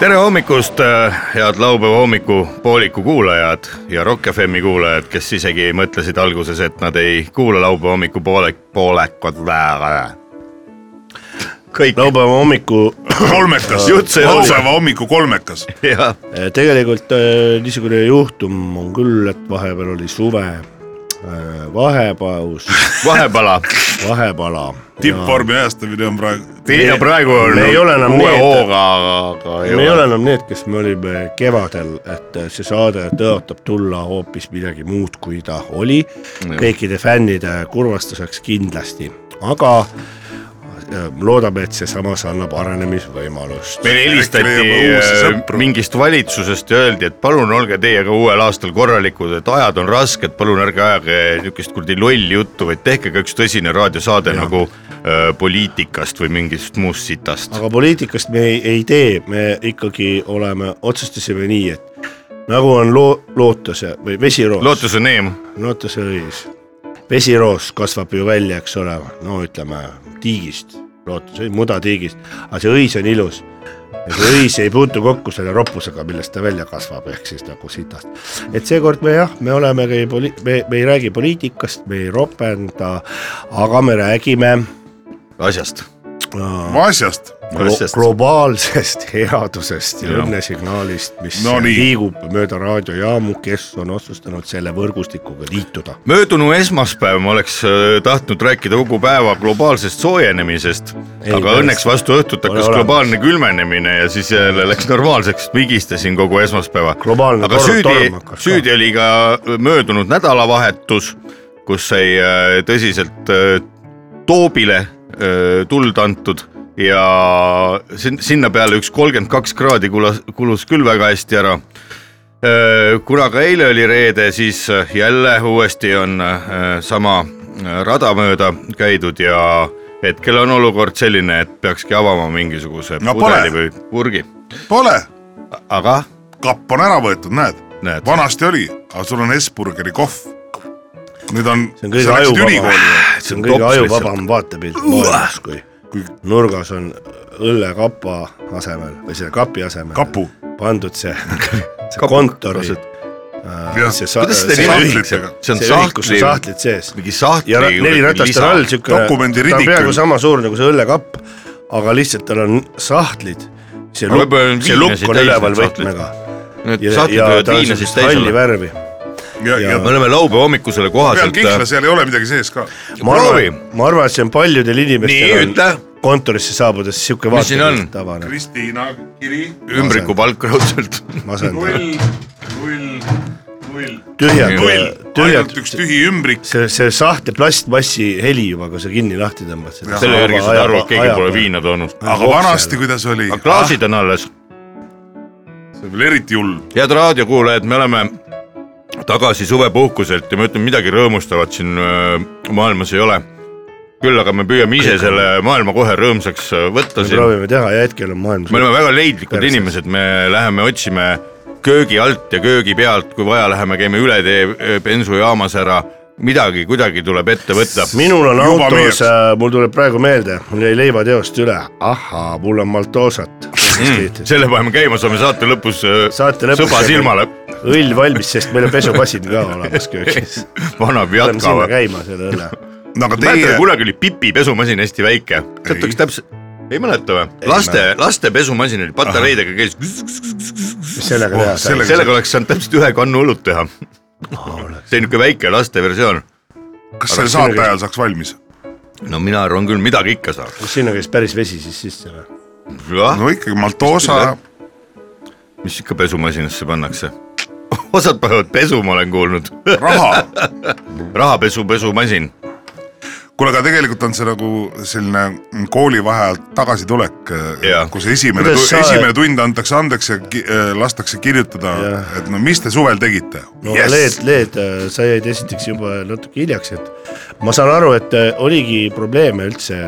tere hommikust , head laupäeva hommiku pooliku kuulajad ja Rock FM-i kuulajad , kes isegi mõtlesid alguses , et nad ei kuula laupäeva hommiku poole , poolekad . kõik laupäeva hommiku kolmekas Jutt sai otsa. laupäeva hommiku kolmekas . ja Eh, tegelikult äh, niisugune juhtum on küll , et vahepeal oli suve äh, vahepaus , vahepala vahepala . tippvormi ajastamine on praegu . ja praegu on me ei ole enam uue need- hooga , aga me ei ole enam need , kes me olime kevadel , et eh, see saade tõotab tulla hoopis midagi muud , kui ta oli kõikide fännide kurvastuseks kindlasti , aga äh, loodame , et seesamas annab arenemisvõimalust . meile helistati Äkki leiame uusi äh, sõpru. mingist valitsusest ja öeldi , et palun olge teie ka uuel aastal korralikud , et ajad on rasked , palun ärge ajage niisugust kuradi lolli juttu , vaid tehke ka üks tõsine raadiosaade ja. nagu äh, poliitikast või mingist muust sitast . aga poliitikast me ei, ei tee , me ikkagi oleme , otsustasime nii , et nagu on loo- , lootuse või vesiroos , lootus on eem , lootuse õis , vesiroos kasvab ju välja , eks ole , no ütleme tiigist , lootuse , mudatiigist , aga see õis on ilus . ja see õis ei puutu kokku selle roppusega , millest ta välja kasvab , ehk siis nagu sitast . et seekord me jah , me olemegi poli- , me , me ei räägi poliitikast , me ei ropenda , aga me räägime asjast . äh, asjast . Glo Asjast. globaalsest headusest ja Jah. õnnesignaalist , mis No nii. liigub mööda raadiojaamu , kes on otsustanud selle võrgustikuga liituda . möödunu esmaspäev ma oleks äh, tahtnud rääkida kogu päeva globaalsest soojenemisest , Ei, aga päris. õnneks vastu õhtut Ole hakkas olemas. globaalne külmenemine ja siis jälle läks normaalseks , vigistasin kogu esmaspäeva . Globaalne aga tor- süüdi torm hakkas , ka. süüdi oli ka möödunud nädalavahetus , kus sai äh, tõsiselt äh, Toobile äh, tuld antud ja sin- sinna peale üks kolmkümmend kaks kraadi kulas , kulus küll väga hästi ära Äh, kuna ka eile oli reede , siis äh, jälle uuesti on äh, sama äh, rada mööda käidud ja hetkel on olukord selline , et peakski avama mingisuguse No no, pole. pudeli või purgi , Pole , aga kapp on ära võetud , näed . Näed. vanasti oli , aga sul on S-burgeri kohv . Nüüd on , see sa on kõige läksid ajuvabam ülikooli ,, see on on kõige tops ajuvabam vaatepilt maailmas , kui nurgas on õllekapa asemel või selle kapi asemel kapu . pandud see , see kontori , jah , see sa- kuidas seda see nimi nimetada on? sahtlik , sahtlitega. , üldse see on see ühik , kus on sahtli , sahtlid sees mingi sahtli . ja ra- neli ratast on all , siukene Dokumendi ta on ridikul. peaaegu sama suur nagu see õllekapp , aga lihtsalt tal on sahtlid , see Aga lukk võib-olla on , see viinasid lukk on täis üleval need sahtlid. võtmega Need ja , sahtlid ja võivad ta on viina siis sellist täis halli olla . värvi . ja , ja me oleme laupäeva hommikusele peal kihla , kohaselt . seal ei ole midagi sees ka . ma proovi arvan , ma arvan , et see on paljudel Nii, inimestel ütle. on kontorisse saabudes siuke Mis siin on? vaatepilt tavaline , Kristiina kiri ümbriku palk raudselt . masendav , null , null , null , tühjad null ,, tühjad ainult , üks tühi ümbrik . see , see sahte plastmassi heli juba , kui sa kinni lahti tõmbad . selle järgi saad aru , et keegi pole . viina toonud . aga vanasti , kuidas oli , aga klaasid on alles see on veel eriti hull . head raadiokuulajad , me oleme tagasi suvepuhkuselt ja ma ütlen , midagi rõõmustavat siin öö, maailmas ei ole . küll aga me püüame ise selle maailma kohe rõõmsaks öö, võtta me siin . proovime teha ja hetkel on maailmas me oleme väga leidlikud Perses. inimesed , me läheme otsime köögi alt ja köögi pealt , kui vaja , läheme käime üle tee öö, bensujaamas ära , midagi kuidagi tuleb ette võtta . minul on Juba autos äh, müüakse. , mul tuleb praegu meelde , mul jäi leivateost üle , ahhaa , mul on maltoosat . Mhm. selle paneme käima , saame saate lõpus öö, Saate lõpus sõba saame- silmale , õll valmis , sest meil on pesupassid ka olemas köögis . vana Lähme pjatka sinna . käima selle õlle . no aga mäletate , teie , kunagi oli Pipi pesumasin hästi väike , teate , kas täpselt , ei mäleta või ? laste , laste pesumasin oli patareidega käis , mis sellega teha sai ? Oh, sellega- sellega oleks saanud täpselt ühe kannu õlut teha . see niisugune väike laste versioon . kas selle saate ajal saaks valmis ? no mina arvan küll , midagi ikka saab . kas sinna käis päris vesi siis sisse või ? jah , no ikkagi Maltosa , Ah, mis ikka pesumasinasse pannakse ? osad panevad pesu , ma olen kuulnud . raha . rahapesu pesumasin . kuule , aga tegelikult on see nagu selline koolivaheajalt tagasitulek äh, Jaa. , kus esimene , Kuidas sa- esimene tund antakse andeks ja ki, äh, lastakse kirjutada Jah. , et no mis te suvel tegite . no yes. Leed , Leed , sa jäid esiteks juba natuke hiljaks , et ma saan aru , et äh, oligi probleeme üldse .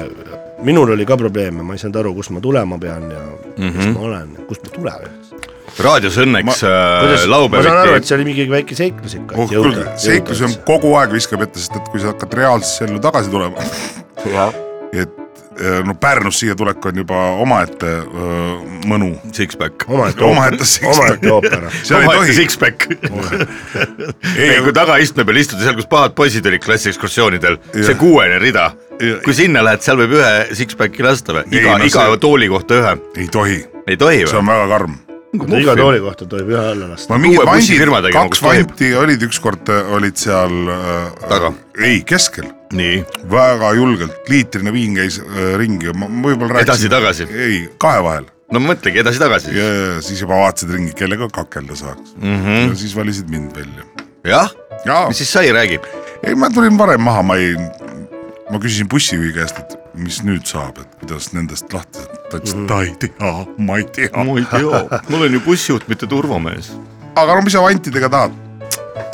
minul oli ka probleeme , ma ei saanud aru , kust ma tulema pean ja mm -hmm. Mhm. kes ma olen , kust ma tulen üldse . Äh, raadios õnneks äh, ma saan aru , et laupäeviti see oli mingi väike seiklus ikka . oh küll , seiklus on kogu aeg viskab ette , sest et kui sa hakkad reaalsesse ellu tagasi tulema , et äh, no Pärnust siia tulek on juba omaette äh, mõnu . six-pack . omaette omaette oopera , seiklus. omaette oopera . seal ei tohi , six-pack . ei , kui tagaistme peal istuda , seal , kus pahad poisid olid klassiekskursioonidel , see Jah. kuuene rida Jah. , kui sinna lähed , seal võib ühe six-packi lasta või ? Ei, iga no , iga see- tooli kohta ühe . ei tohi , ei tohi see või ? on väga karm iga tooli kohta tohib ühe alla lasta . ma mingid uue vandid , bussifirmadega kaks nagu tohib. vanti olid ükskord , olid seal äh, Taga. ei , keskel , nii , väga julgelt , liitrine viin käis äh, ringi , ma ma võib-olla rääkisin . Edasi-tagasi. ei , kahe vahel no mõtlegi edasi-tagasi . ja , ja siis juba vaatasid ringi , kellega kakelda saaks mm . -hmm. ja siis valisid mind välja . jah , jaa , mis siis sai , räägi . ei ma tulin varem maha , ma ei , ma küsisin bussijuhi käest , et mis nüüd saab , et kuidas nendest lahti , ta ütles , et ta ei tea , ma ei tea . ma ei tea , ma olen ju bussijuht , mitte turvamees . aga no mis sa vantidega tahad ,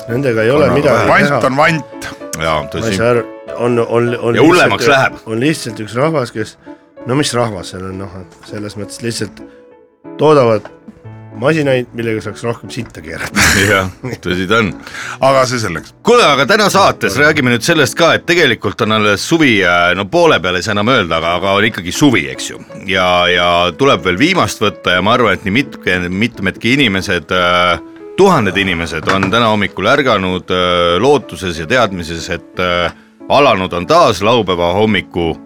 Nendega ei ole midagi vant on vant . jaa , nagu- ma ei tõsi saa . aru , on , on , on . Ja hullemaks läheb. on lihtsalt üks rahvas , kes , no mis rahvas seal on , noh , et selles mõttes lihtsalt toodavad masinaid , millega saaks rohkem sitta keerata . jah , tõsi ta on . aga see selleks , kuule , aga täna saates räägime nüüd sellest ka , et tegelikult on alles suvi , no poole peal ei saa enam öelda , aga , aga on ikkagi suvi , eks ju . ja , ja tuleb veel viimast võtta ja ma arvan , et nii mitme , mitmedki inimesed äh, tuhanded inimesed on täna hommikul ärganud äh, lootuses ja teadmises , et äh, alanud on taas laupäeva hommiku ,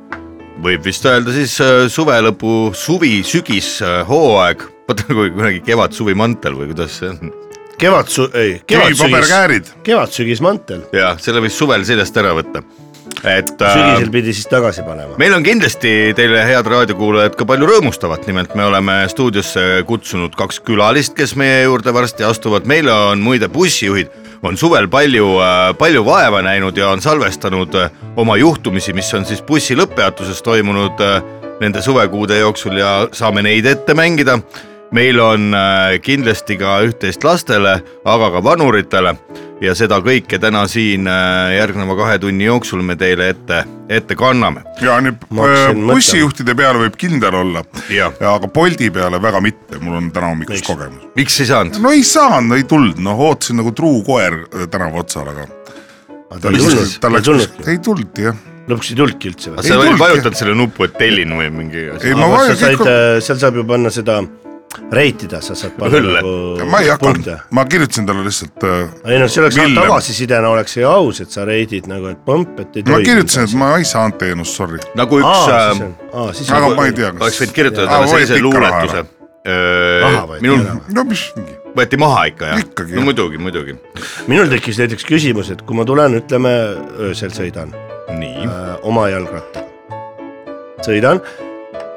võib vist öelda siis äh, suve lõpu , suvi , sügis , hooaeg , vaata kui kunagi kevad-suvi mantel või kuidas see on kevadsu- , ei , kevadsügis , kivipaberkäärid . kevadsügis mantel , jah , selle võis suvel seljast ära võtta . et äh, sügisel pidi siis tagasi panema . meil on kindlasti teile , head raadiokuulajad , ka palju rõõmustavat , nimelt me oleme stuudiosse kutsunud kaks külalist , kes meie juurde varsti astuvad , meile on muide bussijuhid , on suvel palju , palju vaeva näinud ja on salvestanud äh, oma juhtumisi , mis on siis bussi lõpppeatuses toimunud äh, nende suvekuude jooksul ja saame neid ette mängida . meil on äh, kindlasti ka üht-teist lastele , aga ka vanuritele ja seda kõike täna siin äh, järgneva kahe tunni jooksul me teile ette , ette kanname ja nüüd Ma hakkasin äh, bussijuhtide peale võib kindel olla , Jah. aga Bolti peale väga mitte , mul on täna hommikust Miks? kogemus . miks ei saanud ? no ei saanud , no ei tulnud , noh ootasin nagu truu koer äh, tänava otsal , aga aga ta ei tulnud , ta ei tulnud , ei tulnud jah . lõpuks ei tulnudki üldse või ? sa tulnudki. olid vajutanud selle nupu , et tellin või mingi asi ? ei ma sa vajan said äh, kõik ,, seal saab ju panna seda , reitida , sa saad panna nagu Õlle. äh, ma ei hakanud punkte. , ma kirjutasin talle lihtsalt ei noh , see oleks olnud Villem. tagasisidena oleks ju aus , et sa reidid nagu , et põmp , et ei ma tohi . kirjutasin , et ma ei saanud teenust , sorry . nagu üks aa , äh, siis on , aa , siis aga on ma ei tea , oleks võinud kas . kirjutada Aa, talle võeti sellise ikka luuletuse . Maha võeti minul ära või? no mis , võeti maha ikka jah Ikkagi, , no jah. muidugi , muidugi . minul tekkis näiteks küsimus , et kui ma tulen , ütleme öösel sõidan äh, nii , oma jalgrattaga , sõidan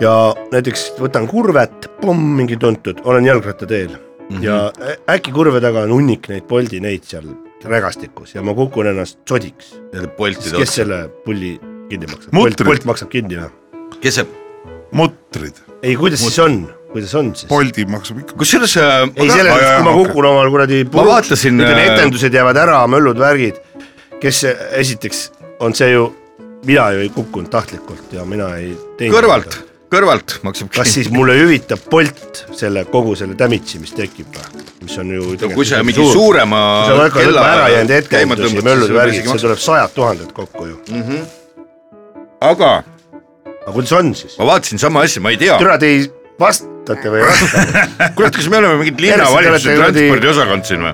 ja näiteks võtan kurvet , pomm , mingi tuntud , olen jalgrattateel mm -hmm. ja ä- äkki kurve taga on hunnik neid Bolti neid seal rägastikus ja ma kukun ennast sodiks , need siis Boltid kes otsa , selle pulli kinni maksab ? Bolt , Mutrid. Bolt maksab kinni või ? kes see , mutrid , ei , kuidas siis on , kuidas on siis ? Boldi maksab ikka . kusjuures äh, ei , selles mõttes , kui ma kukun omal kuradi Ma vaatasin, nüüd on äh, etendused jäävad ära , möllud , värgid , kes esiteks on see ju , mina ju ei kukkunud tahtlikult ja mina ei teinud . kõrvalt , kõrvalt maksab kas kinni . siis mulle hüvitab Bolt selle kogu selle damage'i , mis tekib või , mis on ju . no kui sa mingi suurema kui sa väga kella lõppa ära jäänud käima etendusi , tõmbad, möllud , siis võib värgid , isegi see maksta . tuleb sajad tuhanded kokku ju . aga aga kuidas on siis ? ma vaatasin sama asja , ma ei tea , türa , te ei vastate või ei vasta , kurat , kas me oleme mingid Järsku linnavalitsuse te olete kuradi- transpordiosakond siin või ?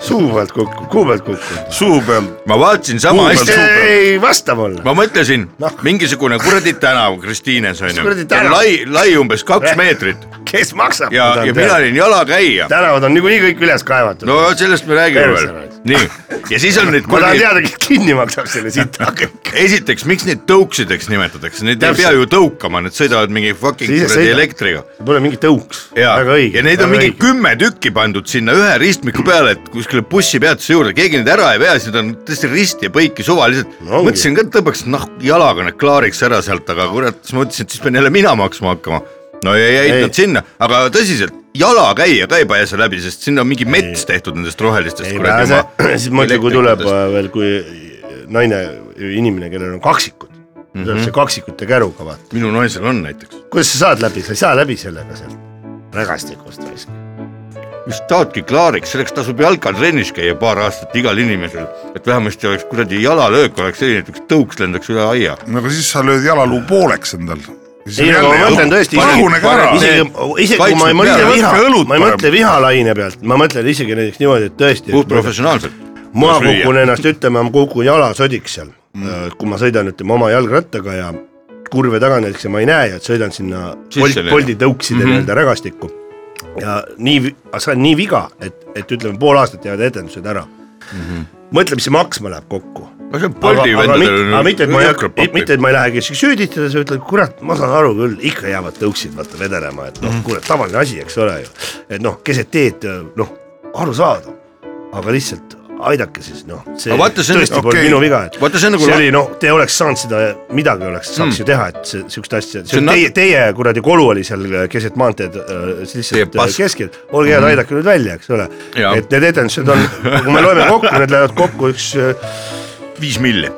suu pealt kukku , kuu pealt kukku . suu peal , ma vaatasin sama Kuhu asja peal- . ei vasta mulle . ma mõtlesin no. Noh. , mingisugune kuradi tänav Kristiines on ju kuradi , tänav? Eh. lai , lai umbes kaks meetrit kes maksab ? ja , ja mina olin jalakäija . tänavad on niikuinii kõik üles kaevatud . no sellest me räägime Perse veel raisk. . nii , ja siis on need ma tahan kuradi , teada , kes kinni maksab selle sita . esiteks , miks neid tõuksideks nimetatakse , neid ei Täpselt. pea ju tõukama , need sõidavad mingi fucking Sa ise kuradi sõidad. elektriga . Pole mingi tõuks . ja , väga õige . ja neid on mingi . kümme tükki pandud sinna ühe ristmiku peale , et kuskile selle bussipeatuse juurde , keegi neid ära ei vea , siis nad on tõesti risti ja põiki suvaliselt No no, . ongi. mõtlesin ka , et tõmbaks nahku jalaga need klaariks ära sealt , aga kurat , siis ma mõtlesin , et siis pean jälle mina maksma hakkama . no ja jäid Ei. nad sinna , aga tõsiselt , jala käia ka ei pääse läbi , sest sinna on mingi mets tehtud nendest rohelistest ei pääse , siis mõtle , kui tuleb elektrikutest. äh, veel , kui naine , inimene , kellel on kaksikud Mhm. mm , -hmm. see kaksikute käruga vaata , minu naisel on näiteks . kuidas sa saad läbi , sa ei saa läbi sellega sealt rägastikust raisk . mis taadki klaariks , selleks tasub jalgatrennis käia paar aastat igal inimesel , et vähemasti oleks kuradi jalalöök oleks selline , et üks tõuks lendaks üle aia . no aga siis sa lööd jalaluu pooleks endal . ei , aga ma mõtlen tõesti , rahunege ära . isegi , isegi kui ma ei Kaitsmed mõtle peale. viha Võtke , õlut ma ei parem. mõtle vihalaine pealt , ma mõtlen isegi näiteks niimoodi , et tõesti , puhtprofessionaalselt . ma kukun . ennast , ütleme , ma kukun jalasodiks seal mm. , kui ma sõidan , ütleme oma jalgrattaga ja kurve taga näiteks ja ma ei näe ja sõidan sinna Sisse Bolt , lennad. Bolti tõukside mm -hmm. nii-öelda rägastikku . ja nii , see on nii viga , et , et ütleme , pool aastat jäävad etendused ära mm . -hmm. mõtle , mis see maksma läheb kokku . no see on aga Bolti aga mitte , vendadel aga mitte , et ma ei hakka , mitte , et ma ei lähe kellegi süüditada , sa ütled , kurat , ma saan aru küll , ikka jäävad tõuksid vaata vedelema , et Mhm. noh , kurat , tavaline asi , eks ole ju . et noh , keset teed , noh , arusaadav , aga lihtsalt aidake siis , noh , see Aga vaata, see on- tõesti okay. okei. polnud minu viga , et Vaata, see on nagu see la- oli noh , te oleks saanud seda , midagi oleks , saaks mm. ju teha , et see siukest asja , see on on nat- teie , teie kuradi kolu oli seal keset maanteed äh, Teie lihtsalt pask. äh, keskel , olge head , aidake nüüd välja , eks ole . Mhm. Jaa. et need etendused on , kui me loeme kokku , need lähevad kokku üks äh, viis milli .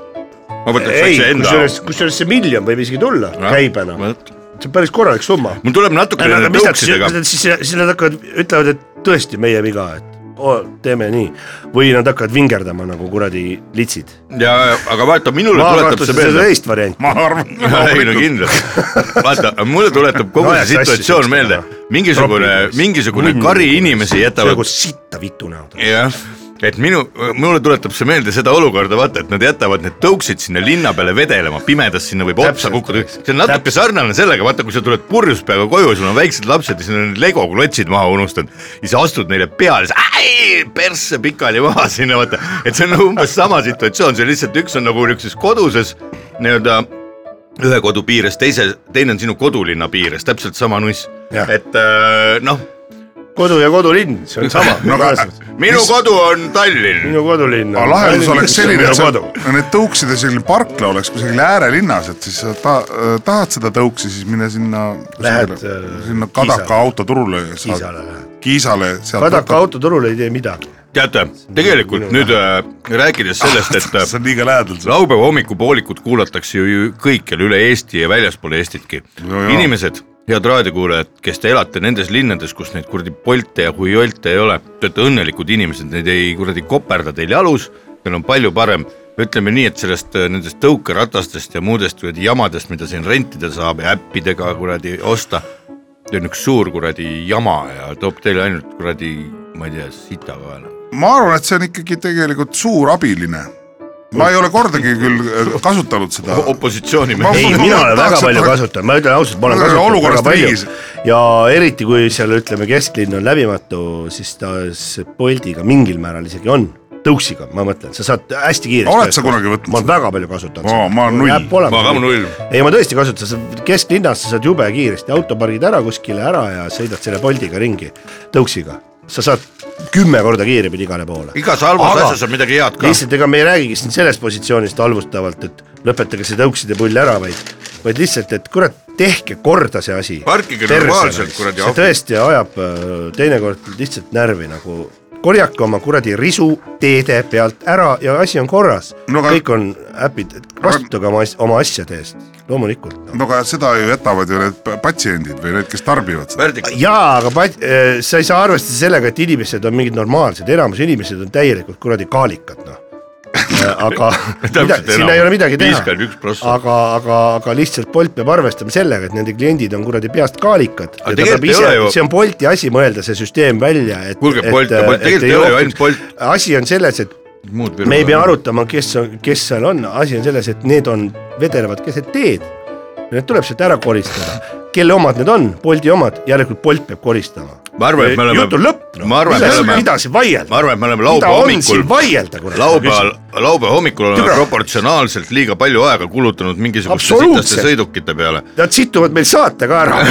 ma võtaks ei asja , enda . kusjuures , kusjuures see miljon võib isegi tulla ja. käibena , see on päris korralik summa . mul tuleb natuke aga nende mis nad siis tõuksidega , siis , siis nad hakkavad , ütlevad , et tõesti meie viga , et oo, teeme nii või nad hakkavad vingerdama nagu kuradi litsid . ja aga vaata , minule ma tuletab arvasin , et see see on meelde . teist varianti . ma arvan . ei no kindlalt , vaata mulle tuletab kogu No see ajas sassi situatsioon sellest meelde ära. , mingisugune , Tropides. mingisugune Munn kari kuradi. inimesi jätavad nagu sitta vitu näoga . jah , et minu , mulle tuletab see meelde seda olukorda , vaata , et nad jätavad need tõuksid sinna linna peale vedelema , pimedas sinna võib otsa Täpselt. kukkuda , see on natuke Täpselt. sarnane sellega , vaata , kui sa tuled purjus peaga koju , sul on väiksed lapsed ja sul on lego klotsid maha unustanud ja sa astud neile peale , persse pikali maha sinna , vaata , et see on nagu umbes sama situatsioon , see lihtsalt üks on nagu niisuguses koduses nii-öelda ühe kodu piires , teise , teine on sinu kodulinna piires , täpselt sama nuss , Jah. et äh, noh , kodu ja kodulinn , see on sama . No aga- minu Mis? kodu on Tallinn . minu kodulinn . aga lahendus oleks selline , et et seal kodu . need tõukside selline parkla oleks kusagil äärelinnas , et siis sa ta, äh, tahad seda tõuksi , siis mine sinna . Lähed, äh, sinna Kadaka Kiisale. autoturule ja saad Kiisale lähed . Kiisale . Kadaka autoturul ei tee midagi . teate , tegelikult nüüd äh, rääkides sellest , et see äh, on liiga lähedal . laupäeva hommikupoolikut kuulatakse ju- ju kõikjal üle Eesti ja väljaspool Eestitki No no . jaa. inimesed , head raadiokuulajad , kes te elate nendes linnades , kus neid kuradi Bolte ja Huiolte ei ole , te olete õnnelikud inimesed , neid ei kuradi koperda teil jalus , teil on palju parem , ütleme nii , et sellest äh, nendest tõukeratastest ja muudest kuradi jamadest , mida siin rentida saab ja äppidega kuradi osta , see on üks suur kuradi jama ja toob teile ainult kuradi , ma ei tea , sita kaela ma arvan , et see on ikkagi tegelikult suur abiline . ma ei ole kordagi küll äh, kasutanud seda . opositsioonimees . ei , mina olen väga palju kasutanud , ma ütlen ausalt , ma olen Ma olen kasutanud väga olukorrast palju riigis. ja eriti kui seal ütleme , kesklinn on läbimatu , siis ta s- Boltiga mingil määral isegi on , tõuksiga , ma mõtlen , sa saad hästi kiiresti . Oled sa kunagi võtnud ma olen väga palju kasutanud Aa, ma olen null. Ma ka null. . ei , ma tõesti kasutan , sa saad kesklinnas , sa saad jube kiiresti , auto pargid ära kuskile ära ja sõidad selle Boltiga ringi tõuksiga , sa saad kümme korda kiiremini igale poole igas halvas Aga- asjas on midagi head ka . lihtsalt ega me ei räägigi siin sellest positsioonist halvustavalt , et lõpetage see tõukside pull ära , vaid , vaid lihtsalt , et kurat , tehke korda see asi . Parkige normaalselt, kuradi see ahvi. tõesti ajab äh, teinekord lihtsalt närvi nagu , korjake oma kuradi risu teede pealt ära ja asi on korras No no, . aga- kõik on äpid , vastutage oma , oma asjade eest , loomulikult no. . no aga seda ju jätavad ju need pa- patsiendid või need , kes tarbivad seda . Värdik , jaa , aga pat- , sa ei saa arvestada sellega , et inimesed on mingid normaalsed , enamus inimesed on täielikult kuradi kaalikad , noh . aga mida, Täpselt sinna enam. ei ole midagi teha 51%. , aga , aga , aga lihtsalt Bolt peab arvestama sellega , et nende kliendid on kuradi peast kaalikad . Aga tegelikult ei ole ju- see on Bolti asi mõelda see süsteem välja , et . Kuulge, Bolt- Bolt- tegelikult ei ole ju ainult Bolt. asi on selles , et muud me ei pea . arutama , kes , kes seal on , asi on selles , et need on , vedelevad keset teed . Need tuleb sealt ära koristada , kelle omad need on , Bolti omad , järelikult Bolt peab koristama . Ma arvan, et me oleme- jutu lõpp no. ma arvan, et me oleme- mida siin vaielda . ma arvan, et me oleme laupäeva hommikul- vaielda kurat . laupäeval , laupäeva hommikul oleme Türa. proportsionaalselt liiga palju aega kulutanud mingisuguste Absoluutselt. sitaste sõidukite peale . Nad situvad meil saate ka ära ,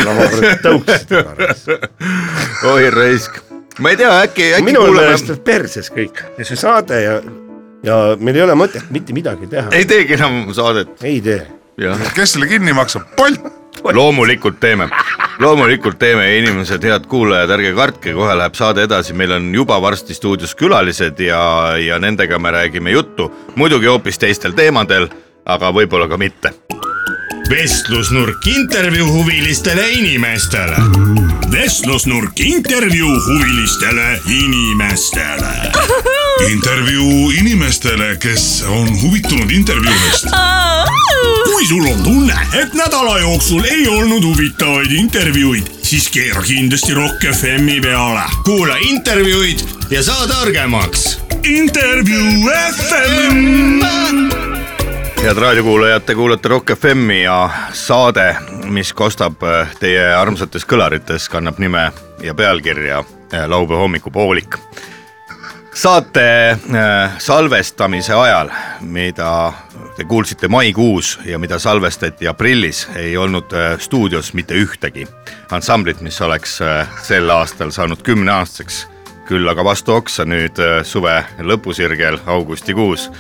tõuksid . oi raisk , ma ei tea , äkki , äkki minul kuulame meelest , on perses kõik ja see saade ja , ja meil ei ole mõtet mitte midagi teha , ei teegi enam saadet , ei tee . jah . kes selle kinni maksab , Bolt . loomulikult teeme , loomulikult teeme , inimesed , head kuulajad , ärge kartke , kohe läheb saade edasi , meil on juba varsti stuudios külalised ja , ja nendega me räägime juttu , muidugi hoopis teistel teemadel , aga võib-olla ka mitte . vestlusnurk intervjuu huvilistele inimestele . vestlusnurk intervjuu huvilistele inimestele . intervjuu inimestele , kes on huvitunud intervjuudest . kui sul on tunne , et nädala jooksul ei olnud huvitavaid intervjuuid , siis keera kindlasti Rock FM-i peale . kuula intervjuud ja saa targemaks . intervjuu FM . head raadiokuulajad , te kuulate Rock FM-i ja saade , mis kostab äh, teie armsates kõlarites , kannab nime ja pealkirja äh, laupäeva hommikupoolik . saate äh, salvestamise ajal , mida te kuulsite maikuus ja mida salvestati aprillis , ei olnud äh, stuudios mitte ühtegi ansamblit , mis oleks äh, sel aastal saanud kümneaastaseks küll aga vastu oksa nüüd äh, suve lõpusirgel augustikuus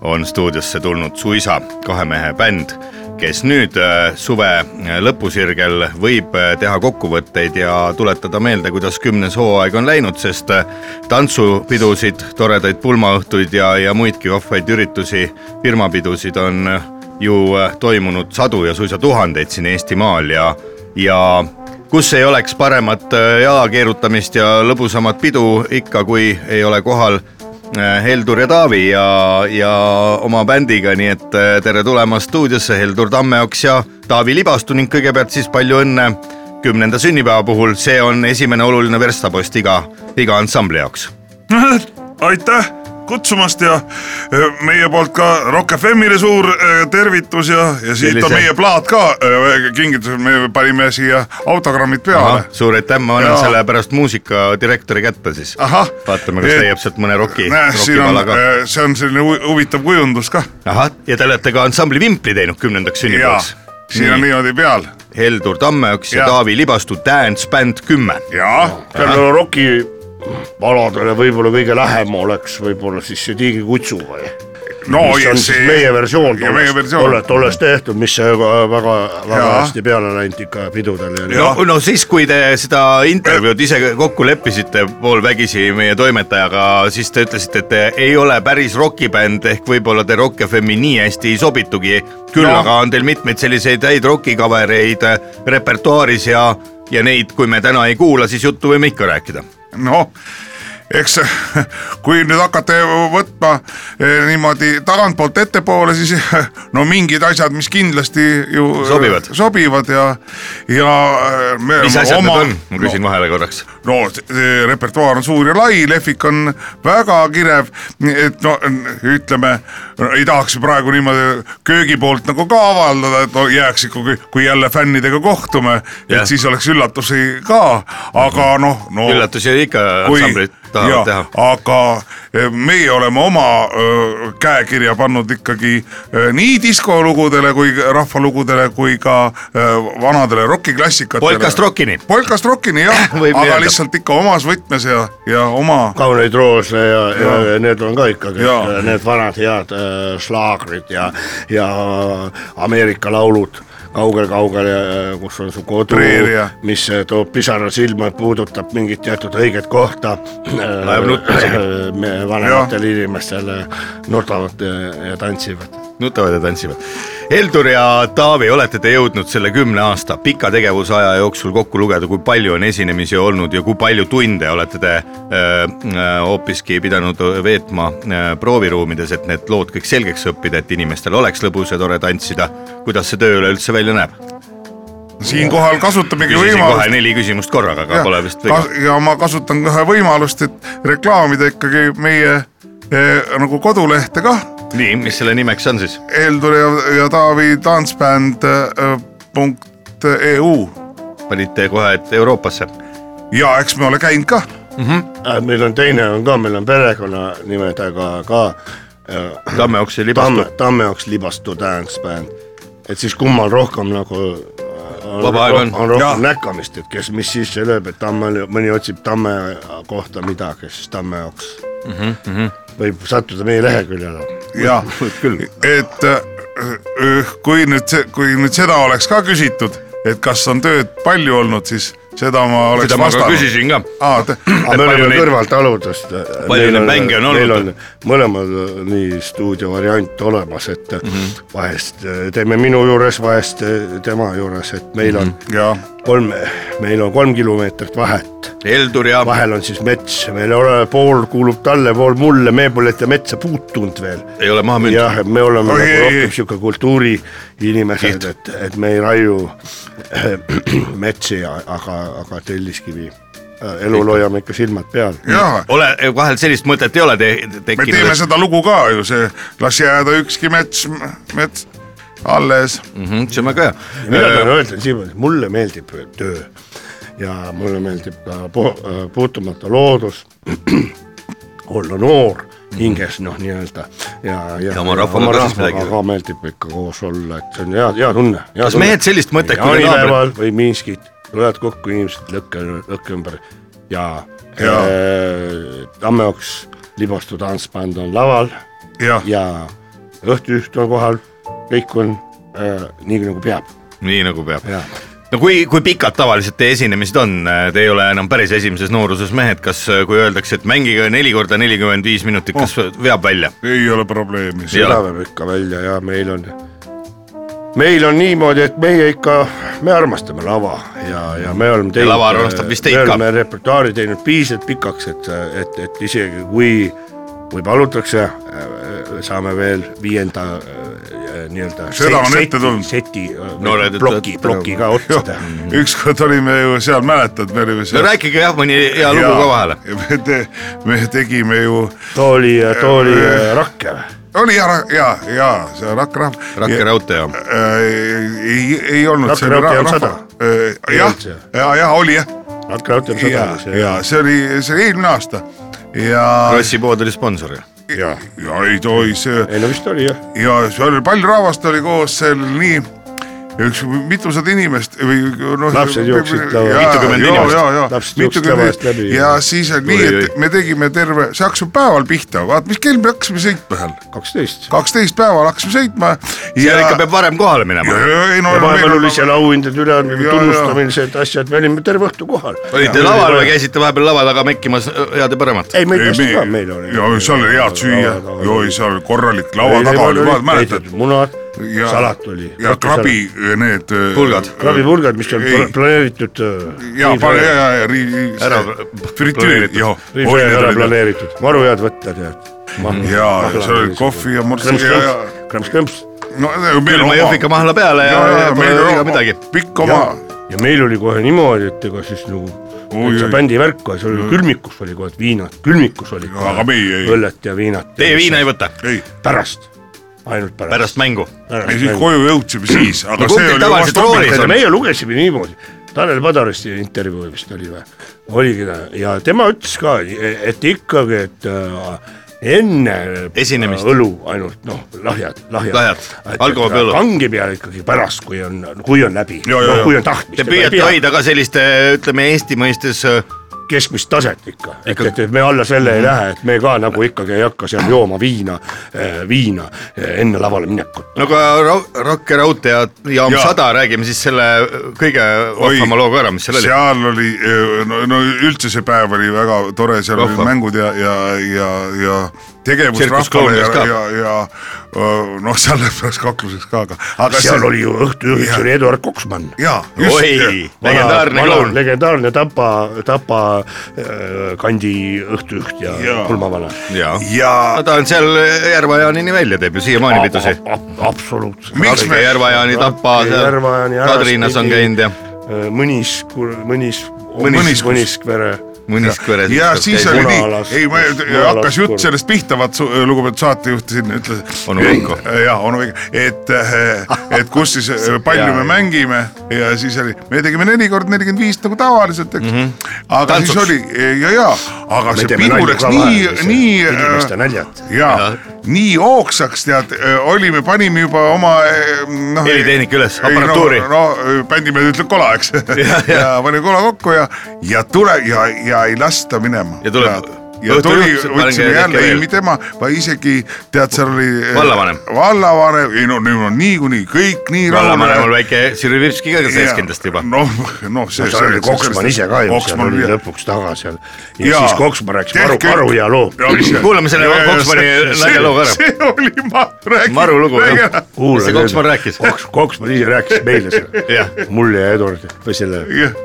on stuudiosse tulnud suisa kahe mehe bänd , kes nüüd äh, suve äh, lõpusirgel võib äh, teha kokkuvõtteid ja tuletada meelde , kuidas kümnes hooaeg on läinud , sest äh, tantsupidusid , toredaid pulmaõhtuid ja , ja muidki vahvaid üritusi , firmapidusid on äh, ju äh, toimunud sadu ja suisa tuhandeid siin Eestimaal ja , ja kus ei oleks paremat äh, jala keerutamist ja lõbusamat pidu ikka , kui ei ole kohal äh, Heldur ja Taavi ja , ja oma bändiga , nii et äh, tere tulemast stuudiosse , Heldur Tammeoks ja Taavi Libastu ning kõigepealt siis palju õnne kümnenda sünnipäeva puhul , see on esimene oluline verstapost iga , iga ansambli jaoks . aitäh kutsumast ja öö, meie poolt ka Rock FM-ile suur öö, tervitus ja , ja siit on Sellise- meie plaat ka öö, kingitus , me panime siia autogrammid peale . suur aitäh , ma annan Jaa. selle pärast muusikadirektori kätte siis . Ahah. vaatame , kas Et- leiab sealt mõne roki , näe , siin on e, äh, rokipala ka ., see on selline hu- huvitav kujundus ka . ahah , ja te olete ka ansambli Vimpli teinud kümnendaks jaa sünnipäevaks ., siin on niimoodi peal Heldur Tammeoks ja, ja Ja. Taavi Libastu Dance Band kümme . jaa , tänu Rocki vanadele võib-olla kõige lähem oleks võib-olla siis see Tiigikutsu või ? no mis ja on siis meie versioon ja meie tollest , versioon tollest , tollest tehtud , mis see väga , väga , väga Jaa. hästi peale läinud ikka pidudel ja nii . Jah. no siis , kui te seda intervjuud ise kokku leppisite poolvägisi meie toimetajaga , siis te ütlesite , et te ei ole päris rokibänd ehk võib-olla te Rock FM-i nii hästi ei sobitugi . küll no. No. aga on teil mitmeid selliseid häid rokikavereid äh, repertuaaris ja , ja neid , kui me täna ei kuula , siis juttu võime ikka rääkida . noh , eks kui nüüd hakata võtma eh, niimoodi tagantpoolt ettepoole , siis no mingid asjad , mis kindlasti ju eh, Sobivad. sobivad ja , ja eh, me mis asjad oma- need on , ma küsin no. vahele korraks . no, no see- see repertuaar on suur ja lai , lehvik on väga kirev , et no ütleme , ei tahaks ju praegu niimoodi köögipoolt nagu ka avaldada , et no jääks ikkagi , kui jälle fännidega kohtume , Jah. et siis oleks üllatusi ka , aga noh , no, no üllatusi ikka ansamblid tahavad teha . aga eh, meie oleme oma öö, käekirja pannud ikkagi öö, nii diskolugudele kui ka rahvalugudele kui ka öö, vanadele rokiklassikatele . Polkast rockini. polkast rockini jah , aga Võib nii öelda. öelda. lihtsalt ikka omas võtmes ja , ja oma . kauneid roose ja, ja , ja need on ka ikkagi Jaa. need vanad head äh, slaagrid ja , ja Ameerika laulud kaugel-kaugel , kus on su kodu Trier ja- , mis äh, toob pisara silma , puudutab mingit teatud õiget kohta äh, . Ajab nutma isegi. me- vanematele inimestele nutavad äh, ja tantsivad . nutavad ja tantsivad . Heldur ja Taavi , olete te jõudnud selle kümne aasta pika tegevusaja jooksul kokku lugeda , kui palju on esinemisi olnud ja kui palju tunde olete te öö, öö, hoopiski pidanud veetma öö, prooviruumides , et need lood kõik selgeks õppida , et inimestel oleks lõbus ja tore tantsida . kuidas see töö üleüldse välja näeb ? siinkohal kasutamegi küsisin võimalust kohe neli küsimust korraga , aga Jah, pole vist kas- viga . ja ma kasutan kohe võimalust , et reklaamida ikkagi meie eh, nagu kodulehte kah nii , mis selle nimeks on siis ? Heldur ja, ja Taavi tantsbänd äh, punkt äh, E EU panite kohe , et Euroopasse . ja eks me ole käinud ka . Äh, meil on teine on ka , meil on perekonnanimedega ka äh, Tammeoks ja Libastu Tamme ,. Tammeoks libastu dance band , et siis kummal rohkem nagu äh, vaba aeg on . on rohkem näkkamist , et kes , mis siis lööb , et tamme , mõni otsib tamme kohta midagi , siis tamme jaoks mm . -hmm, Mhm, mm -hmm. võib sattuda meie leheküljele . jah , et äh, kui nüüd , kui nüüd seda oleks ka küsitud , et kas on tööd palju olnud , siis seda ma oleks seda ma ka vastanud . küsisin ka . aa , aga me palju oleme neid- kõrvalt aludest . äh, palju neid mänge on olnud? mõlemal äh, nii stuudio variant olemas , et mm Mhm. -hmm. vahest äh, teeme minu juures , vahest äh, tema juures , et meil on Mhm. mm jah , -hmm. kolm , meil on kolm kilomeetrit vahet Heldur ja vahel on siis mets , meil ei ole , pool kuulub talle , pool mulle , me pole ette metsa puutunud veel . ei ole maha müünud . jah , et me oleme Oi, nagu ei, ei. rohkem sihuke kultuuriinimesed , et , et me ei raiu metsi , aga , aga Telliskivi äh, elul hoiame ikka silmad peal . jah , ole , vahel sellist mõtet ei ole te me teeme tekkinud . seda lugu ka ju , see las jääda ükski mets , mets alles . Mhm, see on väga mina hea . tahan öelda niimoodi , mulle meeldib töö ja mulle meeldib ka po- äh, puutumata loodus , olla noor hinges noh , nii-öelda ja , ja, Ja oma rahvaga oma ka siis midagi rahvaga ka meeldib ikka koos olla , et see on hea , hea tunne . Kas mehed sellist mõtet, kui kui need naabrid- naabrid ? või Minskid , tulevad kokku inimesed lõkke , lõkke ümber ja, ja. Jaa. Äh, Tammeoks Libastu tantsbänd on laval jah , ja õhtujuht on kohal , kõik on äh, nii nagu peab nii nagu peab . ja no kui , kui pikad tavaliselt teie esinemised on , te ei ole enam päris esimeses nooruses mehed , kas , kui öeldakse , et mängige neli korda nelikümmend viis minutit , kas Oh. veab välja ? ei ole probleemi . Jah. seda peab ikka välja ja meil on , meil on niimoodi , et meie ikka , me armastame lava ja , ja me oleme teinud . lava armastab vist teid me ka. oleme repertuaari teinud piisavalt pikaks , et , et , et isegi kui , kui palutakse , saame veel viienda äh, nii-öelda . Seda on ette tulnud. seti Noored Noored, ploki , ütlevad- ploki ka otsida . ükskord olime ju seal , mäletad , me olime no seal . rääkige jah , mõni hea lugu ka vahele . me te- , me tegime ju , tooli , tooli äh, rakke või ? oli ja , ja , ja see Rakra . Rakke raudtee on . Äh, ei , ei olnud . Rakvere raudtee on sada. Ei Äh, jah olnud see. , ja , ja oli jah , rakke raudteel ja , ja sadamas . see oli , see oli eelmine aasta ja , rassipood oli sponsor ju . ja, ja ei tohi see ei no vist oli jah . ja seal oli palju rahvast oli koos seal nii üks mitusada inimest või noh . Lapsed jooksid lava- Mitukümmend inimest. Lapsed jooksid lava eest läbi. ja siis on nii , et me tegime terve , see hakkas ju päeval pihta , vaat mis kell me hakkasime sõitma seal , kaksteist . kaksteist päeval hakkasime sõitma . seal ikka peab varem kohale ja , minema . ja , ei no . ja vahepeal oli seal auhindade üleandmine , Ja, ja. tunnustamised , asjad , me olime terve õhtu kohal . olite laval või ? käisite vahepeal lava taga mekkimas äh, head ja paremat ? ei , meil ei käis ka , meil oli . ja seal oli head süüa , joi seal oli korralik laua taga oli , vaata mäletad . munad , ja salat oli . ja . krabi need . Pulgad. krabipulgad , mis on Ei. pla- planeeritud . äh, ja , ja , ja , ja riivi . Ära fritüür , planeeritud. jah . ära planeeritud , maru head võtta tead . ja seal oli kohvi ja morss ja , ja . krõmps-krõmps . no meil külma oma . jõhvika mahla peale ja, ja, ja pole viga midagi . pikk oma . ja meil oli kohe niimoodi , et ega siis nagu Oi, täitsa oi. bändi värk , seal oli külmikus oli kohe viinad , külmikus oli . aga meie ei , õllet ja viinat . Teie viina ei võta ei , pärast , ainult pärast . pärast mängu . me siis koju jõudsime siis , aga kumbki see oli tavaliselt vast hommik . roolis tead , on. meie lugesime niimoodi , Tanel Padaristi intervjuu vist oli või , oligi ta ja tema ütles ka , et ikkagi , et äh, enne äh, Esinemist. õlu ainult noh , lahjad , lahjad, Lahjad, alkohol või õlu? kange peal ikkagi pärast , kui on , kui on läbi , Ja, ja, ja. kui on tahtmist Te . püüate hoida ka selliste , ütleme Eesti mõistes äh, keskmist taset ikka, Ikka- ikka. , et , et me alla selle Mhm. ei lähe , et me ka nagu ikkagi ei hakka seal jooma viina , viina eh, enne lavale minekut . no aga Ra- Rock ja Raudtee ja Jaam Jaa. Sada , räägime siis selle äh, kõige Oi. vahvama loo ka ära , mis seal oli . seal oli , no, no üldse see päev oli väga tore , seal Rahva. olid mängud ja , ja , ja , ja tegevus Tsirkus rahvale ja Klounides , ka. ja , ja öö, noh , seal läks kakluseks ka , aga , aga seal oli ju õhtujuhiks oli Eduard Koksmann . jaa , oi , legendaarne kloun . legendaarne Tapa , Tapa äh, kandi õhtujuht ja, ja. Jaa. pulmavana . jaa , ja no ta on seal Järva-Jaanini välja teeb ju siiamaani pidusid . absoluutselt . Miks me- Järva-Jaani tapa seal , Kadrinas on käinud ja . äh, mõnis , mõnis , Mõniskvere. Mõniskvere , mõniskveres . ja siis oli nii Munalaskus, , ei ma hakkas munalaskur. jutt sellest pihta , vaat su- lugupeetud saatejuht siin ütles . Onu Veiko. . jah , onu Veiko , et , et kus siis eh, palju me mängime ja siis oli , me tegime neli kord nelikümmend viis nagu tavaliselt , eks . aga siis Tantsuks. oli ja , ja , aga see pidu läks nii , nii . äh, inimeste naljad . ja nii hoogsaks tead , olime , panime juba oma eh, noh . Helitehnika üles, aparatuuri. no, . no bändimees ütleb kola , eks . ja, ja panime kola kokku ja , ja tule ja , ja ei lasta minema . Ja tuleb- ja õhtul tuli , õhtul pange võtsime jälle , tehke ei veel. tema , ma isegi tead , seal oli . Vallavanem. vallavanem , ei no nüüd on niikuinii kõik nii vallavanemal . väike Sirvi Virski ka sees kindlasti juba . noh , noh see . seal oli Koksman ise ka ju , seal oli lõpuks taga seal . ja siis Koksman rääkis Maru , Maru ja loo . Kuulame selle Koksmani nalja loo ka ära. see oli , ma räägin . Maru lugu, jah. Mis see Koksman rääkis? Koks , Koksman ise rääkis meile seda Jah. . mulle ja Eduard või selle , jah ,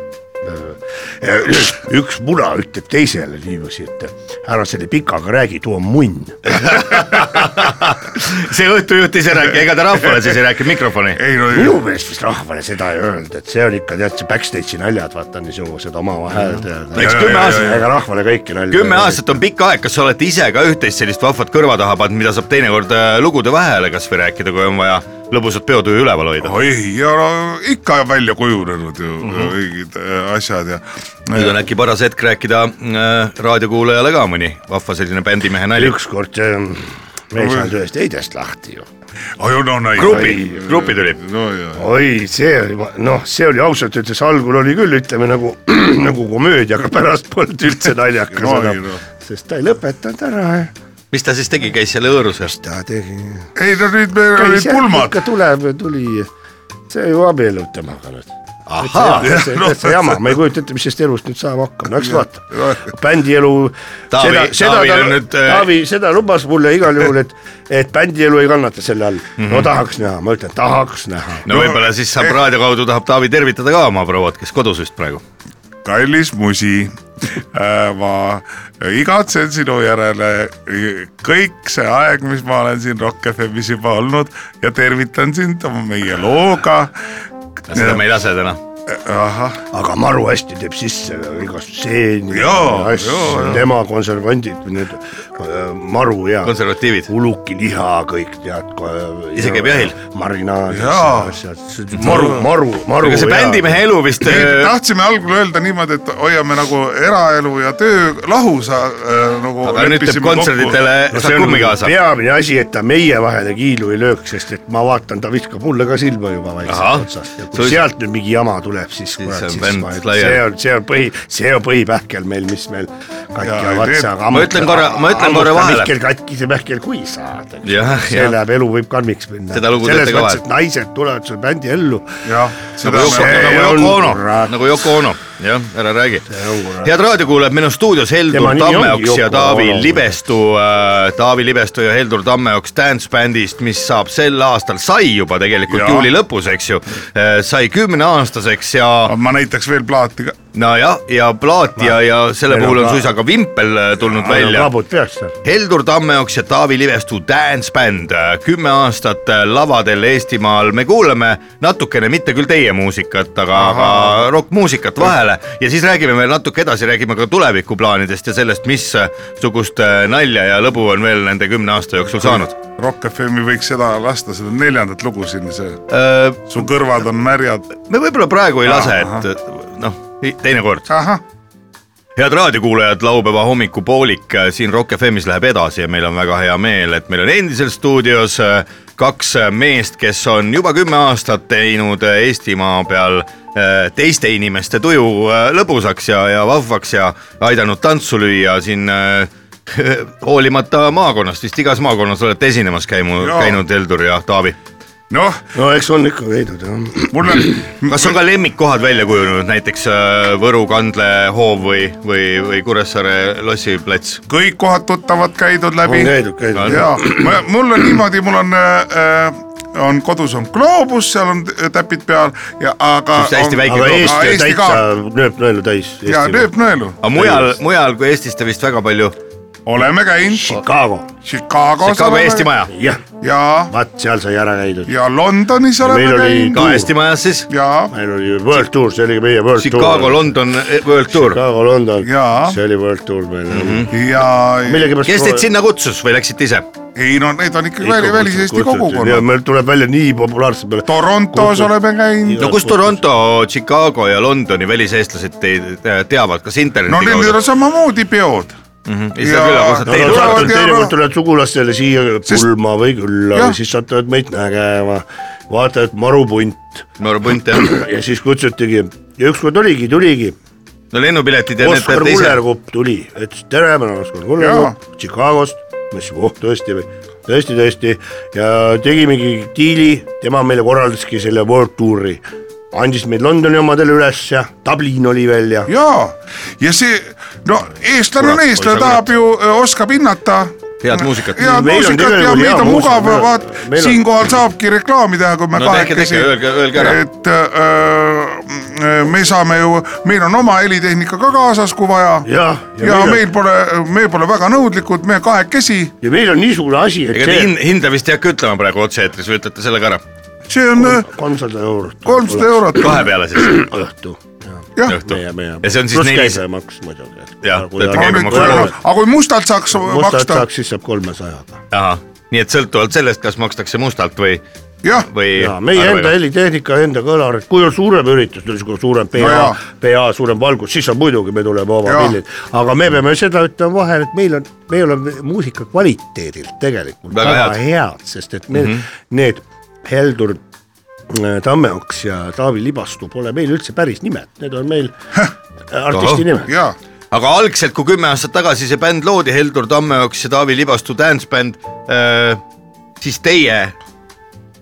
üks muna ütleb teisele niiviisi , et ära selle pikaga räägi , too on munn . see õhtujuht ise rääkis , ega ta rahvale siis ei rääkinud mikrofoni . ei no minu meelest vist rahvale seda ei öelnud , et see on ikka tead see backstage'i naljad , vaata niisugused omavahel . Eks kümme aastat- ega rahvale kõiki nalju . kümme . aastat on pikk aeg , kas sa oled ise ka üht-teist sellist vahvat kõrva taha pannud , mida saab teinekord äh, lugude vahele kasvõi rääkida , kui on vaja lõbusat peotuju üleval hoida ? oi , ja no, ikka välja kujunenud ju mm -hmm. õiged äh, asjad ja . nüüd on äkki paras hetk rääkida äh, raadiokuulajale ka mõni vahva selline bändimehe nali . ükskord ähm, me ei saanud ühest heidest lahti ju . oi no näi- . grupi , grupi tuli . no ja , oi , see oli , noh , see oli ausalt öeldes algul oli küll , ütleme nagu nagu komöödia , aga pärast polnud üldse naljakas No, ei, enam noh. , sest ta ei lõpetanud ära , mis ta siis tegi , käis seal õõruses ? ta tegi . ei no nüüd meil olid pulmad . ikka tuleb , tuli , see ju abiellub temaga nüüd . Ah, ahhaa , täitsa jama , ma ei kujuta ette , mis sellest elust nüüd saama hakkab , no eks vaata . bändielu . Taavi- Taavil on nüüd, eh, äh, Taavi seda lubas mulle igal juhul , et , et bändielu ei kannata selle all . Mhm. no tahaks näha , ma ütlen , tahaks näha . no Eh. võib-olla siis saab raadio kaudu tahab Taavi tervitada ka oma prouat , kes kodus vist praegu . kallis musi äh, , ma igatsen sinu järele kõik see aeg , mis ma olen siin Rock FM-is juba olnud ja tervitan sind oma meie looga . seda me ei lase täna . ahah , aga maru hästi teeb sisse igast stseeni Jaa, jaa, asju jaa. , tema konservandid , need äh, maru ja konservatiivid . ulukiliha kõik tead . Ise käib jahil? marinaad Jaa. , asjad , maru , maru , maru . ega see bändimehe elu vist äh, tahtsime algul öelda niimoodi , et hoiame nagu eraelu ja töö lahus äh, nagu . aga nüüd teeb kontsertidele , no see saab on kummi kaasa . peamine asi , et ta meie vahele kiilu ei lööks , sest et ma vaatan , ta viskab mulle ka silma juba Ahah. vaikselt otsast ja kui Sul- Sul... sealt nüüd mingi jama tuleb , siis kurat , on siis bänd ma ütlen , laiali. see on , see on põhi , see on põhipähkel meil , mis meil Jaa, katki ei on tee- otsa , aga Ma ütlen korra- ma ütlen korra vahele. Mihkel katkise pähkel , kui saad , eks Jah, see jah. läheb , elu võib karmiks minna . Seda lugu teete selles ka mõttes , vahel. et naised tulevad sul bändi ellu . jah , seda nagu Yoko- me see nagu Yoko on Ono , kurat. nagu Yoko Ono , jah , ära räägi on kurat. . head raadiokuulajad , meil on stuudios Tema Heldur nimi ongi Tammeoks Yoko ja Taavi Ono. Libestu äh, , Taavi Libestu ja Heldur Tammeoks Dance Bandist , mis saab sel aastal , sai juba tegelikult Jaa. juuli lõpus , eks ju , sai kümneaastaseks ja ma näitaks veel plaati ka . nojah , ja plaat ja , ja selle Meil puhul on on ka- suisa ka vimpel äh, tulnud välja kaabud peaks seal . Heldur Tammeoks ja Taavi Livestu Dance Band , kümme aastat lavadel Eestimaal , me kuulame natukene , mitte küll teie muusikat , aga , aga rokkmuusikat vahele ja siis räägime veel natuke edasi , räägime ka tulevikuplaanidest ja sellest , missugust äh, nalja ja lõbu on veel nende kümne aasta jooksul saanud . Rock FM-i võiks seda lasta , seda neljandat lugu siin , see Su kõrvad on märjad . Äh, me võib-olla praegu ei lase , et noh , teinekord . ahah , head raadiokuulajad , laupäeva hommikupoolik äh, siin Rock FM-is läheb edasi ja meil on väga hea meel , et meil on endiselt stuudios äh, kaks äh, meest , kes on juba kümme aastat teinud äh, Eestimaa peal äh, teiste inimeste tuju äh, lõbusaks ja , ja vahvaks ja aidanud tantsu lüüa siin äh, hoolimata maakonnast , vist igas maakonnas olete esinemas käimu, Jaa. käinud , Heldur ja Taavi . noh , no eks on ikka käidud jah . mul on , kas on ka lemmikkohad välja kujunenud , näiteks äh, Võru kandlehoov või , või , või Kuressaare lossiplats ? kõik kohad tuttavad käidud läbi on . käidud , käidud . ja ma- mul on niimoodi , mul on äh, , on kodus on gloobus , seal on t- täpid peal ja aga . Just hästi väike aga Aga Eesti on Eesti täitsa ka nööp-nõelu täis . ja lööb nõelu . aga mujal , mujal kui Eestis te vist väga palju oleme käinud Chicago , Chicagos Chicago Eesti Maja , jah , ja , vaat seal sai ära käidud . ja Londonis meil oleme oli käinud ka tuur. Eesti Majas siis . ja , meil oli ju World Tour , see oli meie World Chicago , Tour . London , World Tour . Chicago , London , Jaa. see oli World Tour meil mm . Mhm. -hmm. ja millegipärast kes teid sinna kutsus või läksite ise ? ei no need on ikkagi väli- väliseesti ja kogukonnad . meil tuleb välja nii populaarse peale . Torontos Kutsu- oleme käinud . no kus Toronto , Chicago ja Londoni väliseestlased teid teavad , kas no interneti nendel on kaudu ? samamoodi peod . jaa. No no nad Teil satuvad tulevad ja teinekord no- tulevad sugulastele siia Sest- pulma või külla Jah. või siis satuvad meid nägema , vaatavad marupunt Norra Punt jah , ja siis kutsutigi ja ükskord oligi , tuligi , no lennupiletid ja need Oskar peate ise . Kullerkupp tuli , ütles tere , ma olen Oskar Kullerkupp Chicagost , ma ütlesin , oh tõesti või , tõesti , tõesti ja tegimegi diili , tema meile korraldaski selle World Touri , andis meid Londoni omadele üles ja Dublin oli veel ja jaa , ja see , no eestlane on Kurat, eestlane , oi sa tahab ju , oskab hinnata . Head muusikat. head Meil on muusikat tegelikult ja meid hea on muusika, mugav , meil on- vaat meil on- siinkohal saabki reklaami teha , kui me No tehke, kahekesi tehke, öelge- öelge ära. et öö, me saame ju , meil on oma helitehnika ka kaasas , kui vaja . Jah, ja ja, ja meil on- meil pole , me pole väga nõudlikud , me kahekesi , ja meil on niisugune asi , et ega te see hin- , hinda vist ei hakka ütlema praegu otse-eetris või ütlete selle ka ära , see on öö, kolmsada eurot . kolmsada eurot , kahe peale siis õhtu jah. jah . õhtu . meie , meie . ja see on siis pluss nelis- käibemaks muidugi . Jah, töötu käibemaks. mustalt aga kui mustalt saaks maksta , saaks , siis saab kolmesajaga . ahah , nii et sõltuvalt sellest , kas makstakse mustalt või , jah , või . ja meie enda helitehnika , enda kõlarid , kui on suurem üritus , niisugune suurem PA jaa. no , PA suurem valgus , siis on muidugi , me tuleme oma Jaa. pillid , aga me peame seda ütlema vahel , et meil on , me oleme muusika kvaliteedilt tegelikult Väga väga, head. väga head , sest et Mhm. meil mm -hmm. need Heldur äh, Tammeoks ja Taavi Libastu pole meil üldse päris nimed , need on meil artisti Ahah. nimed . jaa , aga algselt , kui kümme aastat tagasi see bänd loodi , Heldur Tammeoks ja Taavi Libastu Dance Band äh, , siis teie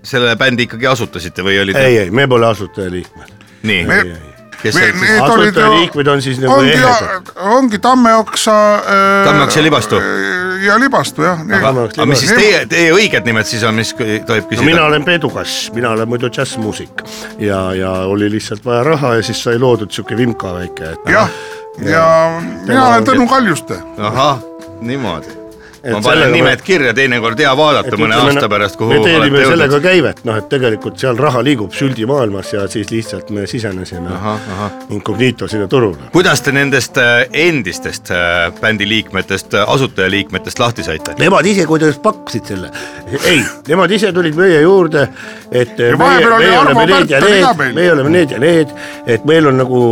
selle bändi ikkagi asutasite või olite ei , ei , me pole asutaja-liikmed . nii me me... ?, kes me , seal siis ? need olid asutaja ju liikmed on siis nagu ongi äh, ehedad ., ongi Tammeoksa . Tammeoks ja Libastu. ja Libastu jah . Aga- aga mis siis teie , teie õiged nimed siis on , mis kui tohib no küsida mina ? olen pedukas , mina olen muidu džässmuusik ja , ja oli lihtsalt vaja raha ja siis sai loodud sihuke vimka väike , jah et , noh, ja mina olen Tõnu Kaljuste . ahah , niimoodi . Et ma panen sellega- nimed kirja , teinekord hea vaadata et mõne ütleme, aasta pärast , kuhu me teenime olete sellega jõudnud . käivet , noh et tegelikult seal raha liigub süldimaailmas ja siis lihtsalt me sisenesime incognito sinna turule . kuidas te nendest äh, endistest äh, bändi liikmetest , asutajaliikmetest lahti saite ? Nemad ise kuidagi pakkusid selle , ei , nemad ise tulid meie juurde , et meie, vahepeal oli meie Arvo oleme need ja Pärt oli ka need meil. , meie oleme need ja need , et meil on nagu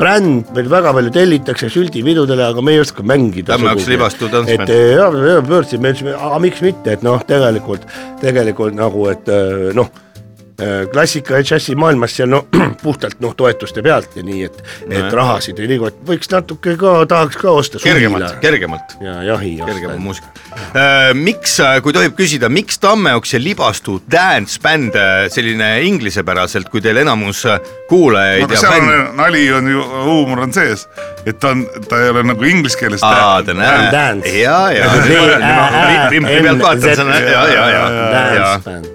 bränd , meil väga palju tellitakse süldividudele , aga me ei oska mängida . Lähme hakkas libastu tantsma. et eh, ja , ja pöördusin , me ütlesime , aga miks mitte , et noh , tegelikult , tegelikult nagu , et eh, noh , klassika ja džässi maailmas see on no, puhtalt noh , toetuste pealt ja nii , et , et rahasid ei liigu , et võiks natuke ka , tahaks ka osta . kergemalt , kergemalt . ja jahi kergema . muusika . Äh, miks , kui tohib küsida , miks Tammeoks ja Libastu dance bänd äh, selline inglisepäraselt , kui teil enamus äh, kuulajaid ja seal fänn , on nali on ju , huumor on sees , et ta on , ta ei ole nagu inglise keeles . aa , te näete , Dance. ja , ja D-A-N-Z- . rimpli pealt vaatan , see on , ja , ja , ja , ja .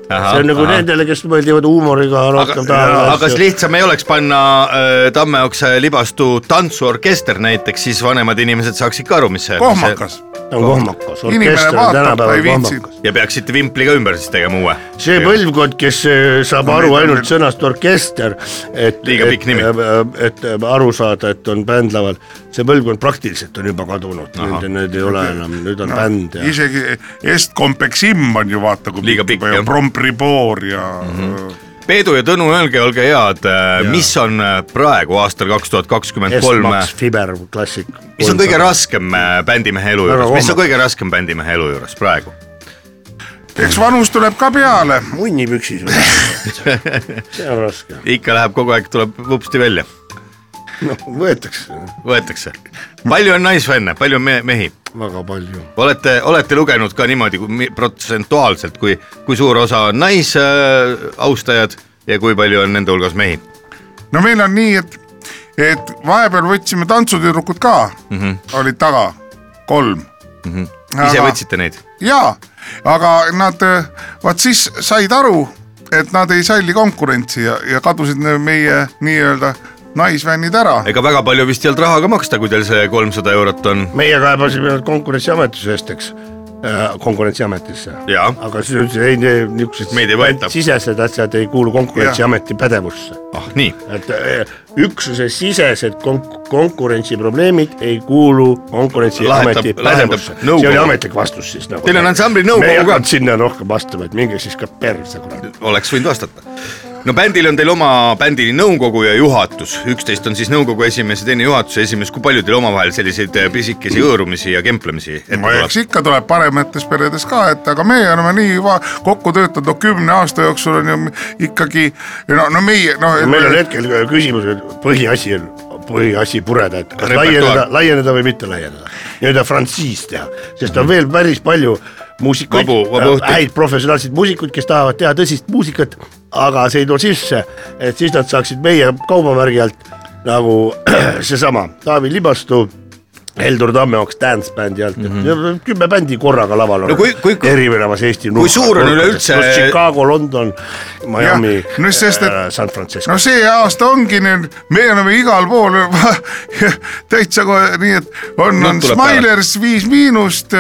see on nagu . nendele , kes meeldivad huumoriga rohkem nagu aga kas lihtsam ei oleks panna äh, Tammeoksa ja Libastu tantsuorkester näiteks , siis vanemad inimesed saaksid ka aru , mis see kohmakas , on kohmakas , inimene Nagu orkester on vaatab , ta tänapäeval ei viitsi kohmakas . ja peaksite vimpli ka ümber siis tegema uue . see põlvkond , kes eh, saab No aru neid on ainult veel- sõnast orkester , et Liiga pikk nimi. et, et eh, aru saada , et on bänd laval , see põlvkond praktiliselt on juba kadunud , need ei ole enam , nüüd on bänd ja isegi Estkompeksim on ju vaata kui Liiga pikk, jah. Mhm. Prompriboor ja Peedu ja Tõnu , öelge , olge head , mis on äh, praegu aastal kaks tuhat kakskümmend kolm , eh. S-Max Fiber klassik . mis on kõige raskem äh, bändimehe elu Väga juures , mis on kohmakas. kõige raskem bändimehe elu juures praegu ? eks vanus tuleb ka peale . munnipüksis või ? see on raske , ikka läheb kogu aeg , tuleb vupsti välja , noh võetakse võetakse . palju on naisfänne , palju on me- mehi ? väga palju olete , olete lugenud ka niimoodi kui mi- protsentuaalselt , kui , kui suur osa on naisaustajad ja kui palju on nende hulgas mehi ? no meil on nii , et , et vahepeal võtsime tantsutüdrukud ka , olid taga kolm . Mhm. ise võtsite neid ? jaa , aga nad , vaat siis said aru , et nad ei salli konkurentsi ja , ja kadusid ne- meie nii-öelda naisfännid ära . ega väga palju vist ei olnud raha ka maksta , kui teil see kolmsada eurot on . meie kaebasime konkurentsiametuse eest , eks , konkurentsiametisse . Jaa. aga siis ütles ei , niisugused Meid ei võeta. sisesed asjad ei kuulu konkurentsiameti pädevusse . ah nii , et eh, üksuse sisesed konk- , konkurentsiprobleemid ei kuulu konkurentsiameti Lahendab- pädevusse . lahendab nõukogu. see oli ametlik vastus siis nagu . Teil on ansambli me ei nõukogu ka hakanud sinna rohkem vastama , et minge siis ka perse kurat . oleks võinud vastata . no bändil on teil oma bändi nõukogu ja juhatus , üksteist on siis nõukogu esimees ja teine juhatuse esimees , kui palju teil omavahel selliseid eh, pisikesi hõõrumisi ja kemplemisi ette no eks tuleb ? ikka tuleb paremates peredes ka , et aga meie oleme nii va- kokku töötanud , no kümne aasta jooksul on ju m- ikkagi no , no meie no, . meil on hetkel äh, küsimus , et põhiasi on , põhiasi pureda , et kas Repertuaar. laieneda , laieneda või mitte laieneda . nii-öelda frantsiis teha , sest on veel päris palju muusikuid Vabu- vabu õhtuid. , häid professionaalseid muusikuid , kes tahavad teha tõsist muusikat , aga see ei too sisse , et siis nad saaksid meie kaubamärgi alt nagu seesama Taavi Libastu , Heldur Tammeoks Dance Bandi alt mm , -hmm. kümme bändi korraga laval on Mhm. No kui- kui- eri venemas Eesti kui suur on üleüldse- Chicago , London , Miami , no sest, et- San Francisco . no see aasta ongi nüüd , me oleme igal pool täitsa kohe nii , et on , on Nüüd tuleb Smilers , Viis Miinust ,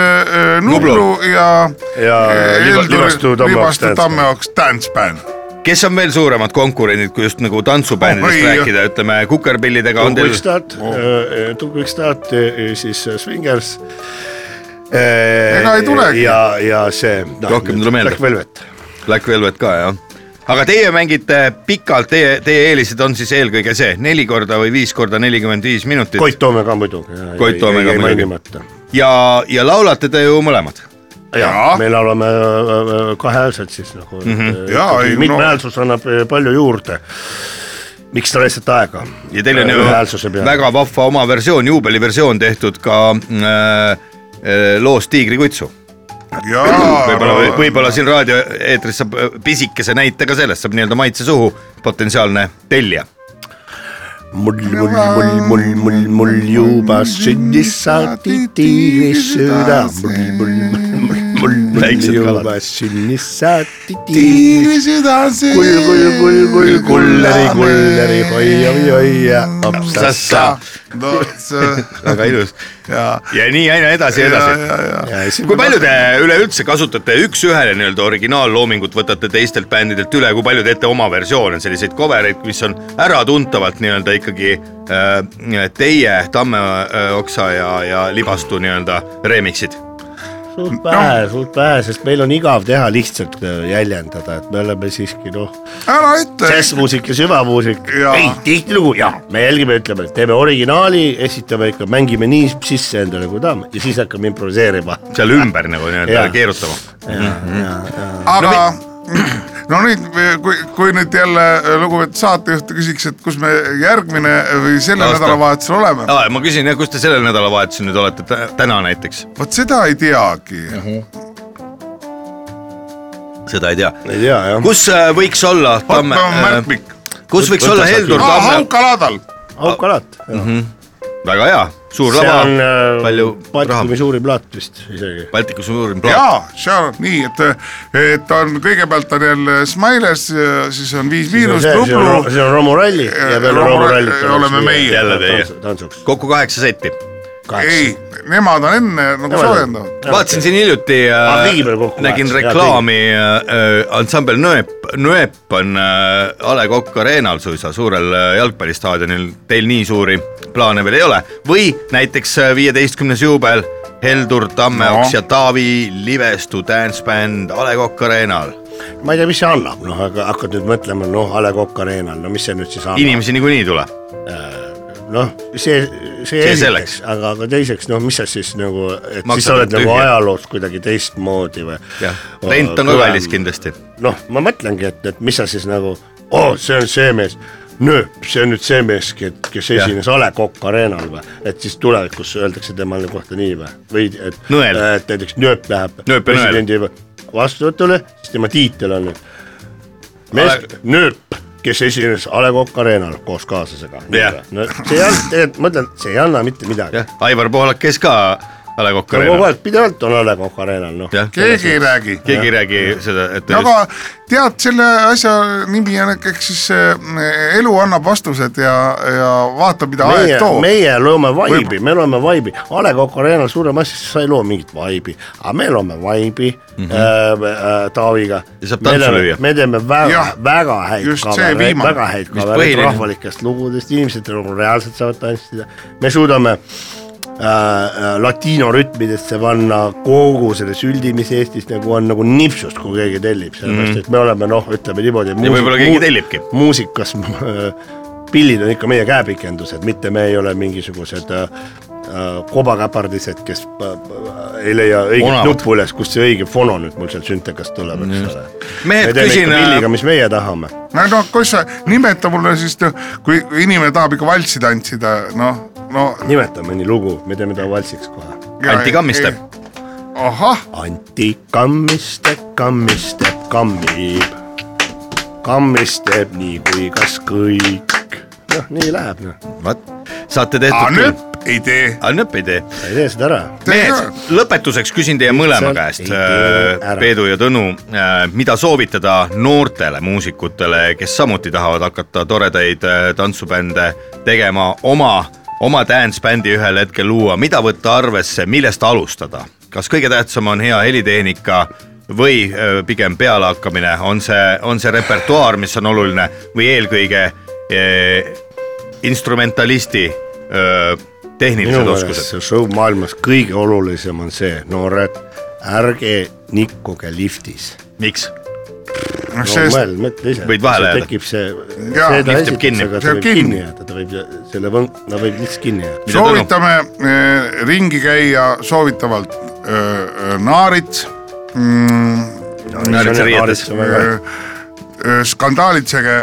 Nublu ja . Ja Liba- Libastu Tammeoks Dance Band. Tammeoks Dance Band . kes on veel suuremad konkurendid , kui just nagu Oh, tantsubändidest ei, rääkida , ütleme kukerpillidega Tugu on teil Quick Start , Tugu Quick Start , siis äh, Swingers . Ega ei tulegi. ja , ja see no, . Rohkem ei tule meelde. Black Velvet . Black Velvet ka jah . aga teie mängite pikalt , teie , teie eelised on siis eelkõige see neli korda või viis korda nelikümmend viis minutit Koit Toome ka muidugi . Koit Toome ka muidugi. mainimata . ja , ja laulate te ju mõlemad . ja me laulame äh, äh, kahehäälselt siis nagu mm . Jaa, ei, -hmm. no- mitmehäälsus no. annab äh, palju juurde . miks te raisate aega ? ja teil on ju ühehäälsuse peale . väga vahva oma versioon , juubeliversioon tehtud ka äh, äh, loost Tiigrikutsu . võib-olla , jaa , võib-olla siin raadioeetris saab äh, pisikese näite ka sellest , saab nii-öelda maitse suhu potentsiaalne tellija . mul , mul , mul , mul , mul , mul juba sündis saati tiiris süda . mul , mul , mul , mul , mul Väiksed kalad. juba sündis saati tiiris kull , kull , kull , kull , kulleri , kulleri , hoi , hoi , hoi ja apsassa . väga ilus jaa , ja nii aina edasi ja edasi . kui palju te üleüldse kasutate üks-ühele nii-öelda originaalloomingut , võtate teistelt bändidelt üle , kui palju teete oma versioone , selliseid covereid , mis on äratuntavalt nii-öelda ikkagi äh, teie Tammeoksa ja , ja Libastu nii-öelda remix'id ? suht vähe , suht vähe , sest meil on igav teha lihtsalt äh, jäljendada , et me oleme siiski noh , ära ütle . džässmuusik ja süvamuusik . Jaa. ei , tihtilugu jaa , me jälgime , ütleme , teeme originaali , esitame ikka , mängime nii sisse endale , kui tahame ja siis hakkame improviseerima . seal ümber nagu nii-öelda Jaa. keerutama . aga no nüüd , kui , kui nüüd jälle äh, lugupeetud saatejuht küsiks , et kus me järgmine või sellel Aasta. nädalavahetusel oleme , aa , ma küsin , kus te sellel nädalavahetusel nüüd olete , täna näiteks , vot seda ei teagi . seda ei tea . ei tea jah . kus äh, võiks olla Tamme äh, oota ,, märkmik . kus võiks Võta olla sealt Heldur aa , Tamme , Haukaladal . aukalat . see väga hea , suur on lava , äh, Mhm. palju raha Baltikumi suurim plaat vist isegi . Baltikumi suurim plaat . jaa , seal on nii , et , et on kõigepealt on jälle Smilers , siis on Viis Miinust , see on Ro- Nublu . see on Romu ralli ja peale Romu Romu ra- rallit oleme meie. Jälle teie. tantsuks . kokku kaheksa setti . ei , nemad on enne nagu soojendavad . vaatasin siin hiljuti äh, Ah, tegime kokku nägin kaheksa, hea reklaami , ansambel Nööp , Nööp on äh, A Le Coq Arena'l suisa suurel äh, jalgpallistaadionil , teil nii suuri plaane veel ei ole või näiteks äh, viieteistkümnes juubel Heldur No. Tammeoks no. ja Taavi Livestu Dance Band A Le Coq Arena'l . ma ei tea , mis see annab , noh , aga hakkad nüüd mõtlema , noh , A Le Coq Arena'l , no mis see nüüd siis annab , inimesi niikuinii ei tule , noh , see , see selleks. esiteks , aga , aga teiseks , noh , mis sa siis nagu , et Maksab siis Maksad sa oled nagu tühja. ajaloos kuidagi teistmoodi või jah , rent on ka kõvem. kallis kindlasti . noh , ma mõtlengi , et , et mis sa siis nagu , oo , see on see mees , nööp , see on nüüd see mees , kes Jah. esines A Le Coq Arena'l või , et siis tulevikus öeldakse temale kohta nii või , või et , Nõel. et näiteks nööp läheb Nööp ja Nõel. presidendi vastuvõtule , siis tema tiitel on nüüd mees Ale- , nööp , kes esines A Le Coq Arena'l koos kaaslasega Jah. . no see ei anna , tegelikult ma ütlen , see ei anna mitte midagi . jah , Aivar Pohlak käis ka A A Le Coq kogu Arena'l . aeg pidevalt on A Le Coq Arena'l noh , keegi keegi ei räägi . keegi ei räägi seda , et aga tead , selle asja nimi on ikkagi siis äh, elu annab vastused ja , ja vaatab , mida meie aeg , toob . meie loome vaibi , me loome vaibi , A Le Coq Arena'l suurem asi , sa ei loo mingit vaibi , aga me loome vaibi mm -hmm. äh, äh, Taaviga . Mhm. Ja saab tantsu lüüa. me teeme väga Jah, , väga häid just see kavereid , viimane. väga häid Mis kavereid põhiline. rahvalikest lugudest , inimesed nagu reaalselt saavad tantsida , me suudame äh, äh, latiino rütmidesse panna kogu selle süldi , mis Eestis nagu on nagu nipsust , kui keegi tellib , sellepärast et me oleme noh , ütleme niimoodi . Mhm. ja võib-olla keegi tellibki . muusikas pillid on ikka meie käepikendused , mitte me ei ole mingisugused äh, äh, kobakäpardised , kes äh, äh, ei leia õiget Onavad. nuppu üles , kust see õige fono nüüd mul seal süntekast tuleb , eks ole . Mehed, me teeme küsin, ikka äh, pilliga , mis meie tahame . no no kus sa , nimeta mulle siis , kui inimene tahab ikka valssi tantsida , noh , no . nimetame nii lugu , me teeme ta valsiks kohe . Anti Kammiste .. ahah , Anti Kammiste , Kammiste kammib , kammisteb nii kui kas kõik . noh , nii läheb , noh , vot , saate tehtud küll . Anüp ei tee . aga nööp ei tee . sa ei tee seda ära . mehed , lõpetuseks küsin teie mõlema käest äh, ei tee , ära. Peedu ja Tõnu , mida soovitada noortele muusikutele , kes samuti tahavad hakata toredaid äh, tantsubände tegema , oma , oma dance-bändi ühel hetkel luua , mida võtta arvesse , millest alustada ? kas kõige tähtsam on hea helitehnika või äh, pigem pealehakkamine , on see , on see repertuaar , mis on oluline või eelkõige eh, instrumentalisti öö, tehnilised minu oskused meelest ? see show maailmas kõige olulisem on see , noored , ärge nikkuge liftis . miks ? noh , sest võid Võid vahele jääda. tekib see , Jaa, see ta lift jääb kinni. esiteks , aga See ta on võib kinni kinni. jääda , ta võib selle võng- , ta võib lihtsalt kinni jääda . Mida soovitame eh, ringi käia soovitavalt öö, öö, naarid mm, , Naaritsa riietes. väga eh, skandaalitsege ,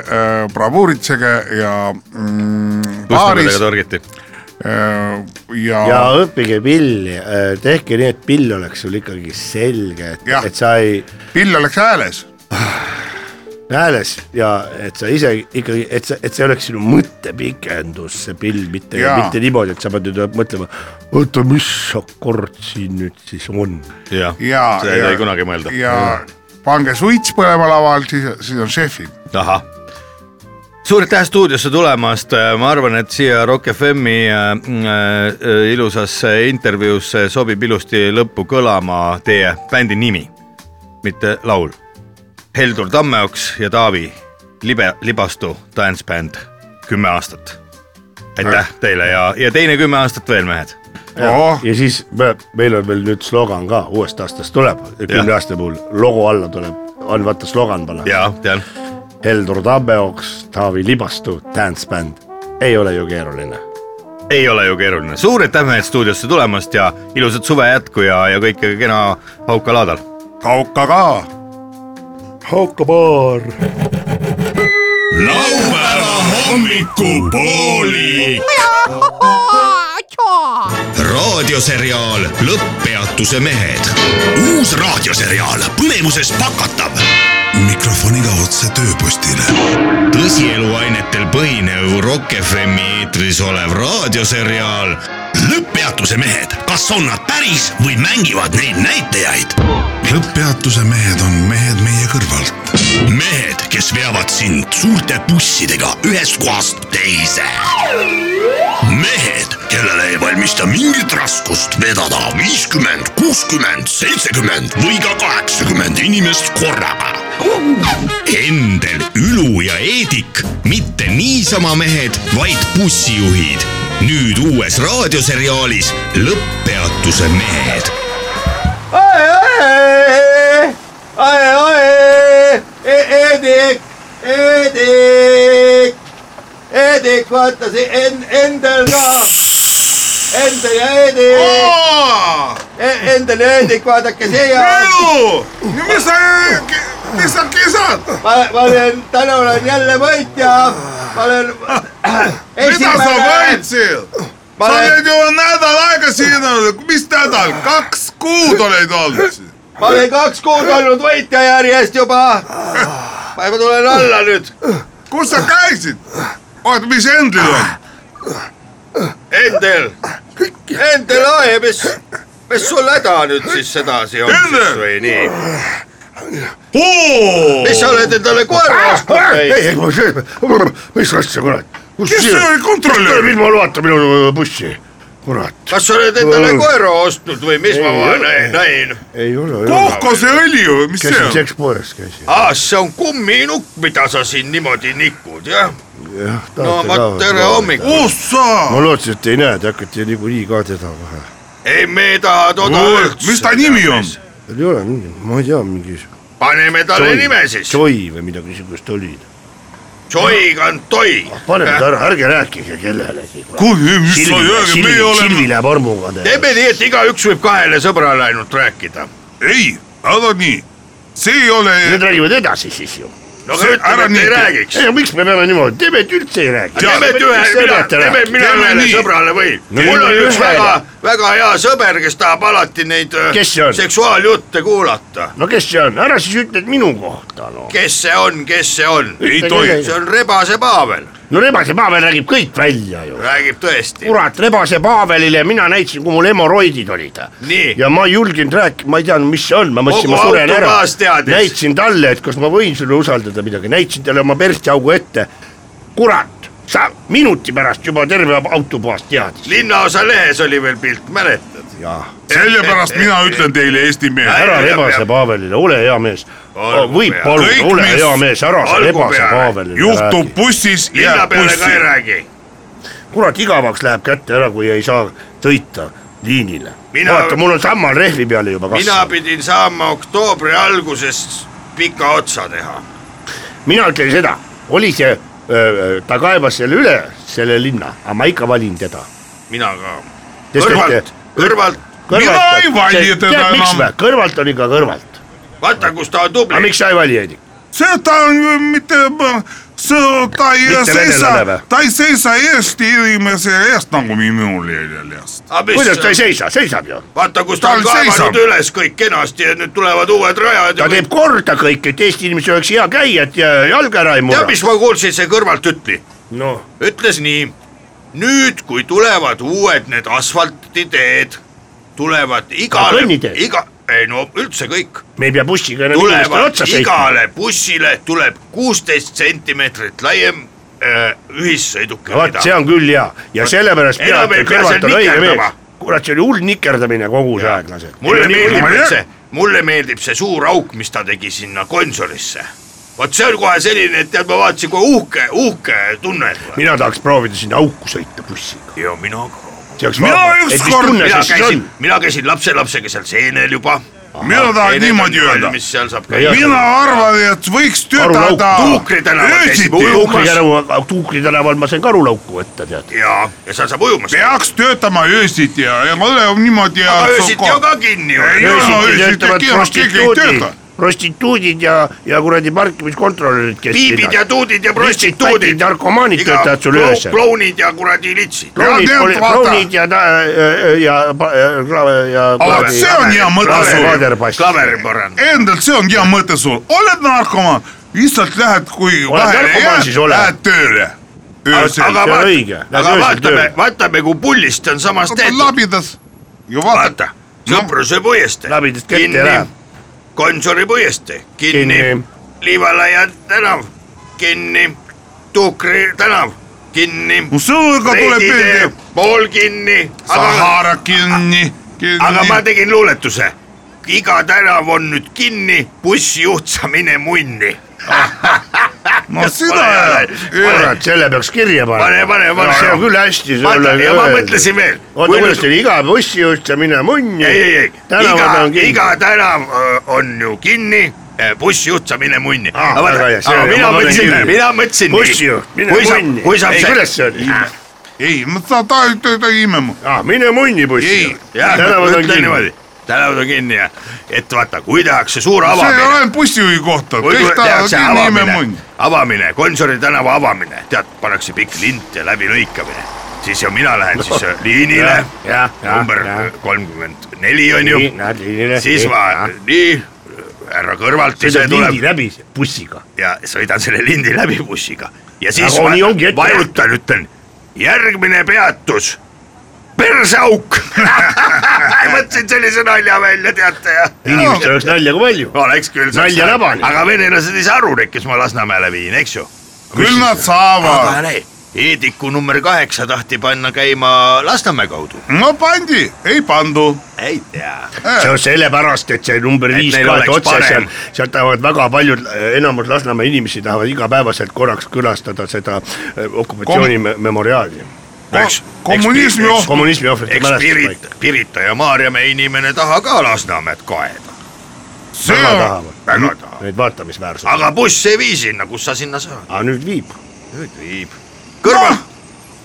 bravuuritsege ja mm, pustmadega baaris torgiti . öö, ja ja õppige pilli , tehke nii , et pill oleks sul ikkagi selge , et , Jah. et sa ei pill oleks hääles . hääles ja et sa ise ikkagi , et see , et see oleks sinu mõttepikendus , see pill , mitte , Jaa. mitte niimoodi , et sa pead nüüd mõtlema , oota , mis akord siin nüüd siis on . jah ja , seda ei tohi kunagi mõelda . ja pange suits põlema laval , siis , siis on šefid . ahah . suur aitäh stuudiosse tulemast , ma arvan , et siia Rock FM-i äh, äh, ilusasse intervjuusse sobib ilusti lõppu kõlama teie bändi nimi , mitte laul . Heldur Tammeoks ja Taavi Libe , Libastu Dance Band , kümme aastat . aitäh teile ja , ja teine kümme aastat veel , mehed . Oh, ja siis me, meil on veel nüüd slogan ka uuest aastast tuleb , kümne Jah. aasta puhul logo alla tuleb , on vaata slogan panna . jaa , tean . Heldur Tabeoks , Taavi Libastu , Dance Band , ei ole ju keeruline . ei ole ju keeruline , suur aitäh mehed stuudiosse tulemast ja ilusat suve jätku ja , ja kõike kena Hauka laadal . kauka ka haukapaar . laupäeva hommikupooli . raadioseriaal Lõpppeatuse mehed . uus raadioseriaal põnevuses pakatav . mikrofoniga otse tööpostile . tõsieluainetel põhinev Rock FM-i eetris olev raadioseriaal Lõpppeatuse mehed , kas on nad päris või mängivad neid näitajaid ? lõpppeatuse mehed on mehed meie kõrvalt . mehed , kes veavad sind suurte bussidega ühest kohast teise mehed , kellele ei valmista mingit raskust vedada viiskümmend , kuuskümmend , seitsekümmend või ka kaheksakümmend inimest korraga . Endel , Ülu ja Eedik , mitte niisama mehed , vaid bussijuhid . nüüd uues raadioseriaalis Lõpppeatuse mehed Eedik , Eedik , Eedik , vaata see en- , Endel ka . Endel ja Eedik e , Endel ja Eedik , vaadake siia . mis sa , mis sa kisad , ma , ma olen , täna olen jälle võitja . ma olen . mida sa võitsid ? Ma sa olen- oled ju nädal aega siin olnud , mis nädal , kaks kuud oled olnud siin . ma olen kaks kuud olnud võitja järjest juba . ma juba tulen alla nüüd . kus sa käisid ? oota , mis Endlil on ? Endel , Endel Aevis , mis sul häda nüüd siis sedasi on siis või nii ? mis sa oled endale koera ostnud ei , või ? ei , mis asja , kurat . kes see oli, kontrolöör? ilma loata minu äh, bussi , kurat . kas sa oled endale koera ostnud või mis ma vahe- näin , näin ? ei ole , ei ole . kohkoseõli või mis see käisin on ? sekspoes , käisin . aa , Ah, see on kumminukk , mida sa siin niimoodi nikud , jah ? jah , no vot , tere . hommikust . ossa , ma lootsin , et ei näe , te hakkate niikuinii ka teda kohe . ei , me taha toda üldse . mis ta nimi on ?? ei ole mingi , ma ei tea , mingi . paneme talle nime siis . Joy või midagi niisugust oli . Joy Kantoi . paneme ta ära , ärge rääkige kellelegi . kuule , mis sa jõuad , meie oleme , Silvi läheb armuga . teeme nii , et igaüks võib kahele sõbrale ainult rääkida . ei , aga nii , see ei ole , nüüd räägime edasi siis ju . no aga ütleme , ära et ei niitu. räägiks . ei no miks me peame niimoodi , teeme , et üldse ei räägi . teeme , et ühe , mina , teeme , mina Teeme ühele nii. sõbrale või No mul on teeme üks ühele. väga , väga hea sõber , kes tahab alati neid äh, Kes see on? seksuaaljutte kuulata . no kes see on , ära siis ütle et minu kohta no . kes see on , kes see on ? ei tohi . see on Rebase Paavel , no Rebase Pavel räägib kõik välja ju . räägib tõesti . kurat , Rebase Pavelile mina näitasin , kui mul hemoroidid olid . Nii. ja ma ei julgenud rääkida , ma ei teadnud , mis see on , ma mõtlesin , ma Kogu suren ära autoklaas teadis. . näitasin talle , et kas ma võin sulle usaldada midagi , näitasin talle oma perstiaugu ette . kurat , sa minuti pärast juba terve autopoas teadis . linnaosa lehes oli veel pilt , mäletad ? jaa , sellepärast mina ütlen teile , Eesti mehed , ära Ei, ei, Rebase ei. Pavelile , ole hea mees . Olgu võib peale. paluda , Kõik, ole mis hea mees , ära sa olgu Rebase peale. Pavelile . juhtub . bussis , linna jääb peale ka bussi ei . räägi . kurat , igavaks läheb kätte ära , kui ei saa sõita liinile . Mina- vaata , mul on sammal rehvi peale juba mina kasvanud . pidin saama oktoobri alguses pika otsa teha . mina ütlen seda , oli see , ta kaebas selle üle , selle linna , aga ma ikka valin teda . mina ka . kõrvalt , kõrvalt , Mina ei vali teda enam. kõrvalt on ikka kõrvalt , vaata , kus ta on aga tubli . miks sa ei vali , Heidik ? see ta on ju mitte , see ta ei Mitte venelane või? seisa , ta ei seisa Eesti inimese eest nagu minul eest . kuidas ta ei seisa , seisab ju . vaata , kus ta on Tal seisab. kaevanud üles kõik kenasti ja nüüd tulevad uued rajad ja ta teeb kõik . korda kõik , et Eesti inimesel oleks hea käia , et ja- jalga ära ei murra tead ,. mis ma kuulsin , see kõrvalt ütli , noh , ütles nii . nüüd , kui tulevad uued need asfaltiteed , tulevad igale , kõnniteed? iga , ei no üldse kõik , me ei pea bussiga enam inimestele tulevad otsa sõitma . igale bussile tuleb kuusteist sentimeetrit laiem äh, ühissõiduki vot see on küll hea ja sellepärast Enam peab ei pea kõrvalt seal on õige nikerdama. mees . kurat , see oli hull nikerdamine kogu see aeg lase . mulle meeldib niimoodi- nüüd see , mulle meeldib see suur auk , mis ta tegi sinna konsolisse . vot see on kohe selline , et tead , ma vaatasin kohe uhke , uhke tunne . mina tahaks proovida sinna auku sõita bussiga . ja mina ka . see oleks Mina vaba , et mis ükskord- tunne see mina siis on käisin ,, mina käisin lapselapsega seal seenel juba . mina tahan niimoodi öelda , Noh, mis seal saab Ja käia . mina arvan , et võiks töötada Tuukri tänaval käisime öösiti , Tuukri ujumas tänaval , Tuukri tänaval ma sain karulauku võtta , tead . ja , ja seal saab ujumas . peaks töötama öösiti ja , ja ma olen niimoodi ja . aga öösiti on ka kinni ju . Ei ole. keegi ei tööta. prostituudid ja , ja kuradi parkimiskontrolörid , kes piibid ja tuudid ja prostituudid . narkomaanid töötavad sul öösel . klounid ja kuradi litsid . klounid tead, , vaata. klounid ja , ja , ja . aga vot see on hea mõte sul , klaveri parandab . endalt see on hea mõte sul , oled narkomaan , lihtsalt lähed , kui Oled vahele narkomaan, siis jääd , ole. lähed tööle . öösel , aga see on vaat- õige. Lähed aga öösel vaatame tööle. , vaatame , kui pullist on samas tehtud . labidas ja vaatad . vaata , Sõpruse puiestee . Labidest kätte läheb. . Gonsiori puiestee , kinni Kinni. . Liivalaia tänav , kinni . Tuukri tänav , kinni . mu sõõrga tuleb Reidi tee meelde , pool kinni . Sahara kinni , aga ma kinni . tegin luuletuse . iga tänav on nüüd kinni , bussijuht , sa mine munni . no seda Ole ja jälle. kurat , selle peaks kirja pane , panema . pane , pane . see on küll hästi . ja ma mõtlesin veel . oota , kuidas teil iga bussijuht ja mine munni . ei , ei , ei , tänavad on iga , kinni . iga tänav öö, on ju kinni , Äh, bussijuht saab mine munni . Ah, aga vaata- väga hea, see aga oli- mina ma panen mõtlesin kinni. , mina mõtlesin . bussijuht , mine munni . kui saab ei , see , kuidas see oli ? ei , ma ta , ta , ta , ta imema . aa , mine munni bussijuht . tänavad on ütle kinni . niimoodi , tänavad on kinni ja , et vaata , kui tehakse suur see ei avamine ole bussijuhi kohta , kui kõik tahavad tehakse kinni imema avamine mundi ., avamine , Gonsiori tänava avamine , tead , pannakse pikk lint ja läbilõikamine , siis ju mina lähen siis äh, liinile , jah , number kolmkümmend neli on ju , siis ma nii , härra kõrvalt ise sõidad tuleb lindi läbi bussiga . ja sõidan selle lindi läbi bussiga ja siis Aga va- nii ongi ette vajutan , ütlen järgmine peatus , perseauk . ei mõtlesin sellise nalja välja , teate ja . inimestel oleks nalja kui palju . oleks küll . Nalja labani. aga venelased ei saa aru , kes ma Lasnamäele viin , eks ju . küll nad saavad , aga näe , Eediku number kaheksa tahti panna käima Lasnamäe kaudu . no pandi , ei pandu , Eh, ei tea . see on sellepärast , et see number Et viis neil kaart oleks otse seal parem. , sealt tahavad väga paljud , enamus Lasnamäe inimesi tahavad igapäevaselt korraks külastada seda eh, okupatsiooni Kom... memoriaali . kommunismi oht , kommunismi ohvrite eks mälestuspaik . Pirita , Pirita ja Maarjamäe inimene taha ka Lasnamäed kaeda , see väga on , tahavad , väga taha . neid vaatamisväärsusi . aga buss ei vii sinna , kus sa sinna saad , aga nüüd viib , nüüd viib . kõrvalt ,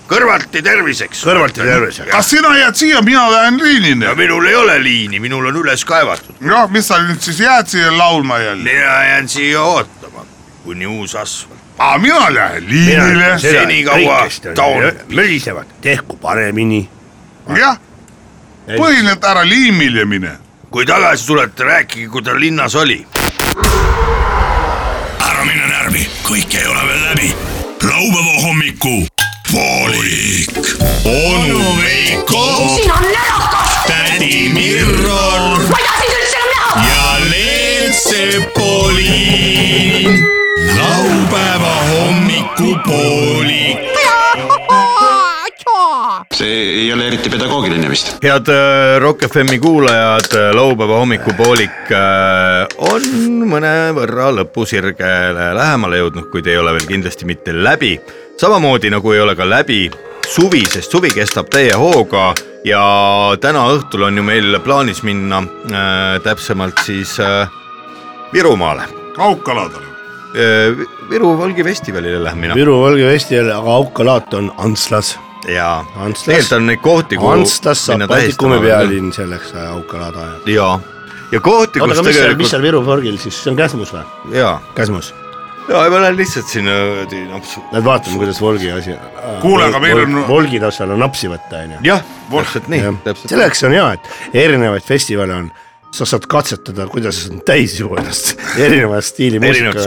kõrvalti terviseks . kõrvalt ja tervisega . kas sina jääd siia , mina lähen liinile ja minul ei ole liini , minul on üles kaevatud . jah , mis sa nüüd siis jääd siia laulma jälle ? mina jään siia ootama , kuni uus asfalt . aa , mina lähen liinile , Senikaua taun- mölisevad , tehku paremini . jah , põhiliselt ära liimile mine . kui tagasi tulete , rääkige , kui ta linnas oli . ära mine närvi , kõik ei ole veel läbi . laupäeva hommiku poolik . onu Veiko , sina närakas , tädi Mirro ma ei taha sind üldse enam näha . ja Leelsepoliin . laupäeva hommikupoolik . see ei ole eriti pedagoogiline vist . head äh, Rock FM-i kuulajad , laupäeva hommikupoolik äh, on mõnevõrra lõpusirgele lähemale jõudnud , kuid ei ole veel kindlasti mitte läbi . samamoodi nagu ei ole ka läbi suvi , sest suvi kestab täie hooga ja täna õhtul on ju meil plaanis minna äh, täpsemalt siis äh, Virumaale . kaukaladele . Viru Valgi festivalile lähme mina Viru Valge vesti jälle , aga Auka-laat on Antslas . ja Antslas- tegelikult on neid kohti , kuhu Antslas saab minna Baltikumi tähistama . pealinn selleks äh, Auka-laada ajal . ja , ja kohti , oota , kus aga mis seal , mis tegelikult seal Viru pargil siis , see on Käsmus või ? ja Käsmus , ja ma lähen lihtsalt sinna noh, niimoodi napsu . lähed vaatama , kuidas Volgi asi . Kuule, aga meil on- Volgi taustal on napsi võtta , onju . jah , täpselt nii , täpselt . selleks on hea , et erinevaid festivale on , sa saad katsetada , kuidas on täis ju ennast erineva stiili Erinevates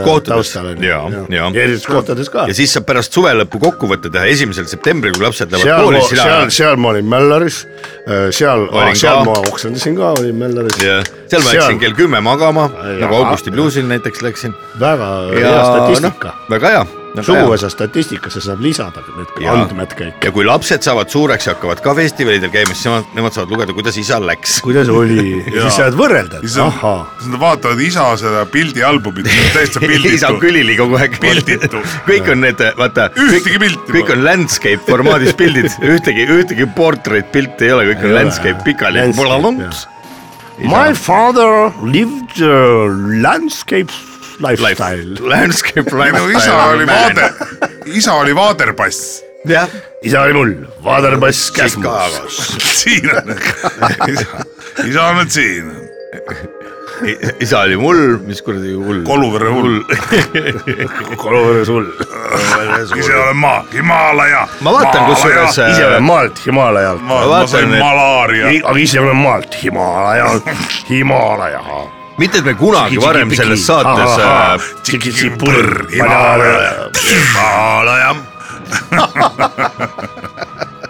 muusika kohtades. taustal onju . Jaa, jaa. erinevates kohtades ka ja . siis saab pärast suve lõppu kokkuvõtte teha esimesel septembril , kui lapsed lähevad seal kooli , , seal , sina . seal ma olin Mällaris , seal ah, Olin , seal ka. ma oksendasin ka , olin Mällaris . seal ma läksin kell kümme magama , Jaa. nagu Augusti Bluesil näiteks läksin . väga hea noh. statistika no, . väga hea . suguvõsa statistikasse saab lisada need Jaa. andmed kõik . ja kui lapsed saavad suureks ja hakkavad ka festivalidel käima , siis nemad , nemad saavad lugeda , kuidas isal läks . kuidas oli , siis saad võrrelda , siis et on ahhaa ,, siis nad vaatavad isa seda pildialbumit , täitsa isa on pilditu . külili kogu aeg . Pilditu. kõik on need , vaata . Ühtegi pilti kõik pole. on landscape formaadis pildid , ühtegi , ühtegi portrait pilti ei ole , kõik Ei on ole, landscape jah. pikali . Landscape, my father lived uh, landscape lifestyle . Landscape minu lifestyle . isa oli vaade , isa oli vaaderpass , jah , isa oli mul , Vaderpass Käsmus . Käsmus . siin on isa , isa on nüüd siin , isa oli mul , mis kuradi hull . Koluvere hull , Kolovere sull . ise olen ma , Himaalaja . ma vaatan , kusjuures . äh, ise olen maalt Himaalajalt . ma, ma ma vaatan, sain et- malaaria , aga ise olen maalt Himaalajalt , Himaalaja . mitte , et me kunagi varem selles saates äh, tšikitsipõrr , Himaalaja . Himaalaja ,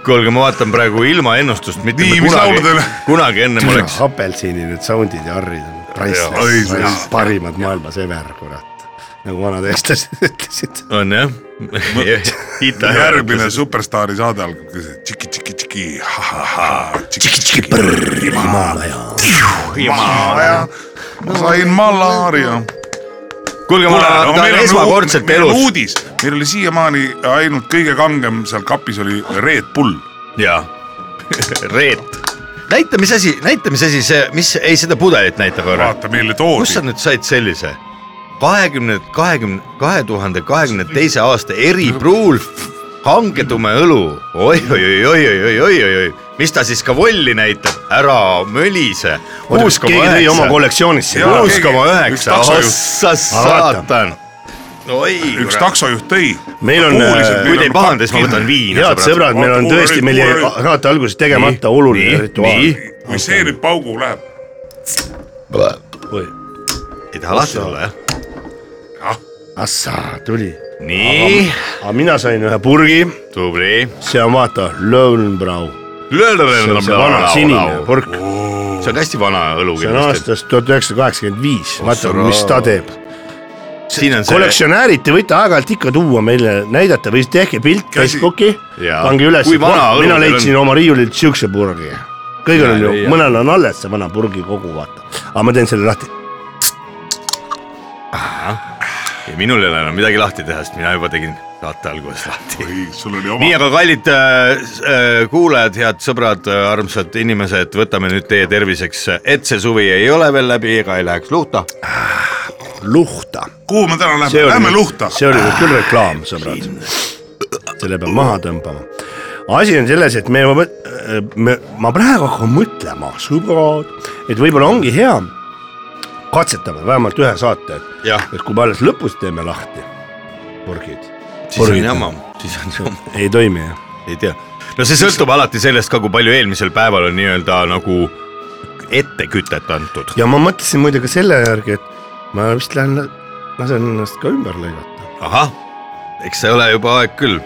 kuulge , ma vaatan praegu ilmaennustust , mitte Nii, me mis laulu kunagi teil- , kunagi ennem oleks . apelsinid , need sound'id ja harrid on priceless , parimad maailmas ever , kurat . nagu vanad eestlased ütlesid . on jah . järgmine superstaari saade algab , tšiki-tšiki-tšiki , ha-ha-ha , põrr , Himaalaja . Himaalaja , ma sain malaaria kuulge , ma Kuule, aga meil tahan on esmakordselt uu- meil on elus . uudis , meil oli siiamaani ainult kõige kangem seal kapis oli Red Bull . jaa , Reet . näita , mis asi , näita , mis asi see , mis , ei seda pudelit näita korra . vaata meile kust sa toodi . nüüd said sellise ? kahekümne , kahekümne , kahe tuhande kahekümne teise aasta eripruul hangetume õlu oi, , oi-oi-oi-oi-oi-oi-oi-oi , mis ta siis ka volli näitab , ära mölise . kuus koma keegi tõi oma üheksa , kollektsioonist selle . kuus koma Üks üheksa , taksojuht. ossa vaata. saatan . oi , üks taksojuht tõi . meil on , kui nagu te ei pahanda , siis ma võtan viina . head sõbrad , meil on Kuule, tõesti , meil jäi kuule. saate alguses tegemata oluline rituaal . kui see nüüd paugu läheb , ei taha lahti olla jah . Assaa , tuli . nii , aga mina sain ühe purgi , tubli . see on vaata , Löwenbrau , see on see vana sinine purk . see on hästi vana õlu see on kindlasti . aastast tuhat üheksasada kaheksakümmend viis , vaata Ostraa. mis ta teeb . siin on see , kollektsionäärid , te võite aeg-ajalt ikka tuua meile , näidata või siis tehke pilt Facebooki , Jaa. pange üles Kui , vana õlu mina teil leidsin on? oma riiulilt siukse purgi . kõigil on ju leia. , mõnel on alles see vana purgi kogu , vaata . aga ma teen selle lahti . minul ei ole enam midagi lahti teha , sest mina juba tegin saate alguses lahti . sul oli nii , oma . aga kallid äh, s- äh, kuulajad , head sõbrad , armsad inimesed , võtame nüüd teie terviseks , et see suvi ei ole veel läbi ega ei läheks luhta . luhta . kuhu me täna lähme , lähme luhta . see oli nüüd küll reklaam , sõbrad . selle peab maha tõmbama . asi on selles , et me, äh, me , ma praegu hakkan mõtlema , sõbrad , et võib-olla ongi hea , katsetame vähemalt ühe saate , Jah. et kui me alles lõpus teeme lahti purgid , siis on Purgid. jama , siis on jama . ei toimi jah . ei tea . no see sõltub alati sellest ka , kui palju eelmisel päeval on nii-öelda nagu ettekütet antud . ja ma mõtlesin muide ka selle järgi , et ma vist lähen , lasen ennast ka ümber lõigata . ahah , eks see ole juba aeg küll .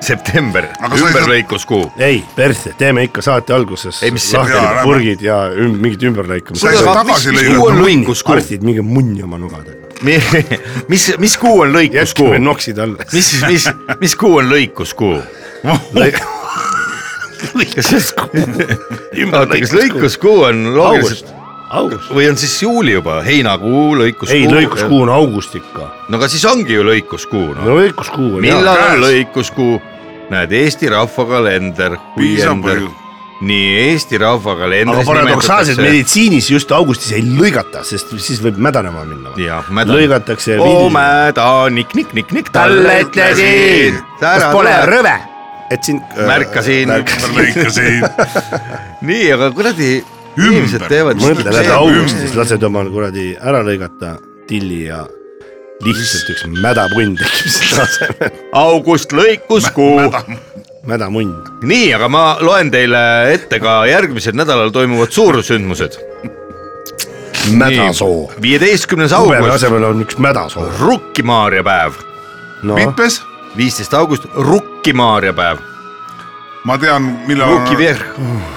september , Aga sa ei saa- ümberlõikuskuu . ei , persse , teeme ikka saate alguses Ei, mis- lahti jaa, lähme. purgid ja üm, mingid ümberlõikamised Sa ei saa tagasi lõigata. lõikuskuu , arstid minge munni oma nugadega . mis , mis kuu on lõikuskuu jätkame ? noksid alla . mis , mis , mis kuu on lõikuskuu ? oota , kas lõikuskuu on loogiliselt august , august . või on siis juuli juba , heinakuu , lõikuskuu ? ei , lõikuskuu . on august ikka . no aga siis ongi ju lõikuskuu , noh . no lõikuskuu on hea . millal Käes. on lõikuskuu ? näed , Eesti rahvakalender , piisab huiender ju . nii Eesti aga rahvakalendris paradoksaalselt meditsiinis just augustis ei lõigata , sest siis võib mädanema minna . Jah, mädan- lõigatakse . omedanik , nik , nik , nik , talle ütlesin . kas pole rõve ? et siin . äh, märkasin . lõikasin nii , aga kuradi Ümber. inimesed teevad . mõtle , lähed augustis , lased oma kuradi ära lõigata tilli ja lihtsalt üks mädapunn tekib selle asemel . august lõikuskuu . mädamunn . nii , aga ma loen teile ette ka järgmisel nädalal toimuvad suursündmused . mädasoo . viieteistkümnes kubeme august , asemel on üks mädasoo . Rukkimaarja päev , noh , mitmes ? viisteist august , Rukkimaarja päev , ma tean , millal on , Rukkivierh .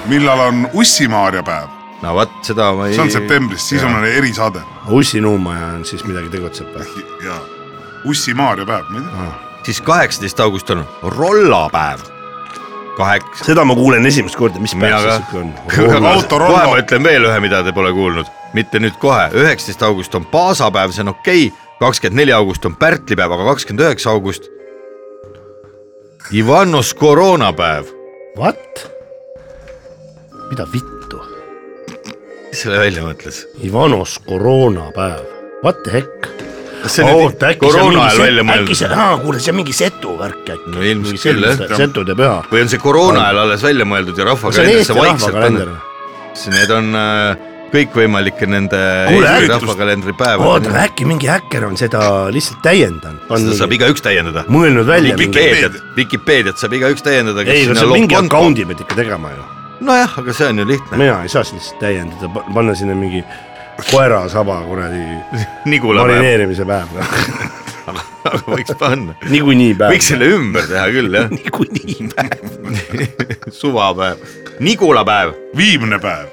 millal on Ussi-Maarja päev , no vot , seda ma ei . see on septembris , siis on erisaade ussinuumaja on siis midagi tegutseb või ? ja Ussi-Maarja päev , ma ei tea . siis kaheksateist august on rollapäev . kaheksa . seda ma kuulen esimest korda , mis päev see siuke on . Autorollo. kohe ma ütlen veel ühe , mida te pole kuulnud , mitte nüüd kohe , üheksateist august on paasapäev , see on okei okay. , kakskümmend neli august on pärtlipäev , aga kakskümmend üheksa august . Ivanos koroona päev , What ? mida vittu ? kes selle välja mõtles ? Ivanos koroonapäev , what the heck ? see nüüd Oh, koroona ajal välja äkki see mõeldud , aa kuule , see on mingi setu värk äkki . No ilmselt küll, jah. setu teeb hea . või on see koroona ajal alles välja mõeldud ja kas see on Eesti rahvakalendrisse vaikselt rahvakalender pandud ?? Need on äh, kõikvõimalike nende Kuule, Eesti ärritus- rahvakalendri päevad oota ,. äkki mingi häkker on seda lihtsalt täiendanud . seda saab igaüks täiendada . mõelnud välja mingi . Vikipeediat , Vikipeediat saab igaüks täiendada . ei , aga seal mingi account'i pead ikka tegema ju . nojah , aga see on ju lihtne . mina ei saa seda lihtsalt täiendada , panna sinna mingi koera saba kuradi Nigula päev , marineerimise päev . aga võiks panna . niikuinii päev . võiks selle ümber teha küll jah , niikuinii päev . suvapäev , Nigula päev , viimne päev ,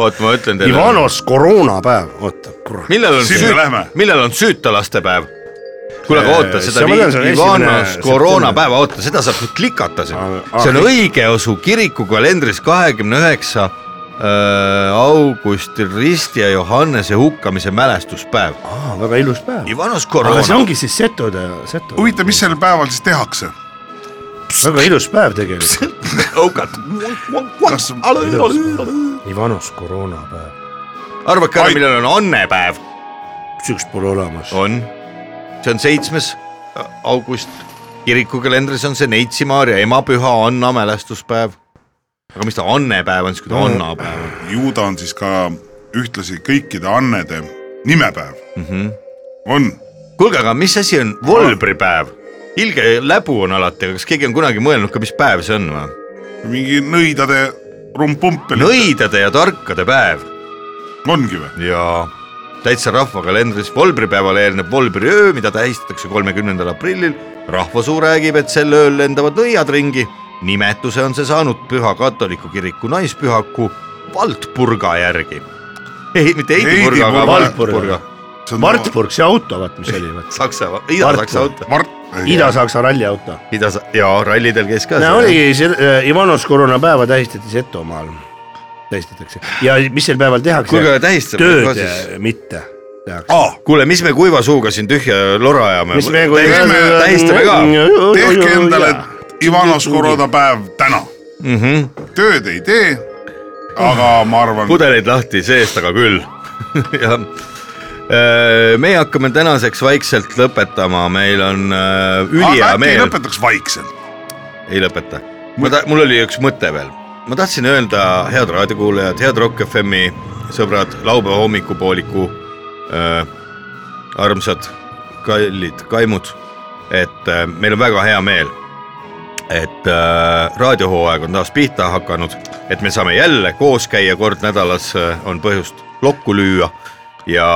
oot , ma ütlen teile . Ivanos koroonapäev , oota kurat . millal on Sinna lähme. süüt- , millal on süütalaste päev ? kuule , aga oota Eh, seda see ma tean, see on vi- Ivanos esimene koroonapäeva , oota seda saab nüüd klikata siin Ah, . ah, see on õigeusu kiriku kalendris kahekümne üheksa augusti Risti ja Johannese hukkamise mälestuspäev . aa , Ah, väga ilus päev . Ivanos aga see koroona , ongi siis setude , setu . huvitav , mis sel päeval siis tehakse ? väga ilus päev tegelikult . hukad . kas Ivanos koroonapäev . arvake ära , millal on annepäev ? sihukest pole olemas . on , see on seitsmes äh, august , kirikukalendris on see Neitsi Maarja emapüha Anna mälestuspäev . aga mis ta annepäev on siis , kui ta annapäev on ? ju ta on siis ka ühtlasi kõikide annede nimepäev mm . -hmm. on , kuulge , aga mis asi on volbripäev ? ilge läbu on alati , aga kas keegi on kunagi mõelnud ka , mis päev see on või ? mingi nõidade rumpumpel nõidade ja tarkade päev ongi või ? ja täitsa rahvakalendris volbripäevale eelneb volbriöö , mida tähistatakse kolmekümnendal aprillil . rahvasuu räägib , et sel ööl lendavad nõiad ringi . nimetuse on see saanud püha katoliku kiriku naispühaku Valtpurga järgi . ei , mitte Heidiburga, Heidiburga , aga Valtpurga. Valtpurga . Martburg , see auto , vaat mis oli , vaat Saksa , Ida-Saksa auto . Mart , Ida-Saksa ralliauto . Ida- , jaa , rallidel käis ka no . oligi , Ivanovs koroona päeva tähistati Setomaal , tähistatakse ja mis sel päeval tehakse ? Kuulge, tähistame ka tööd siis. ja- mitte tehakse . aa , kuule , mis me kuiva suuga siin tühja lora ajame . mis me kui tähistame ka . tehke endale Ivanovskoroda päev täna . Mhm. tööd ei tee , aga ma arvan , pudeleid lahti seest , aga küll . jah . meie hakkame tänaseks vaikselt lõpetama , meil on äh, ülihea aga äkki meel . lõpetaks vaikselt . ei lõpeta . ma ta- , mul oli üks mõte veel . ma tahtsin öelda , head raadiokuulajad , head Rock FM-i sõbrad , laupäeva hommikupooliku äh, armsad kallid kaimud , et äh, meil on väga hea meel , et äh, raadiohooaeg on taas pihta hakanud , et me saame jälle koos käia kord nädalas äh, , on põhjust lokku lüüa ja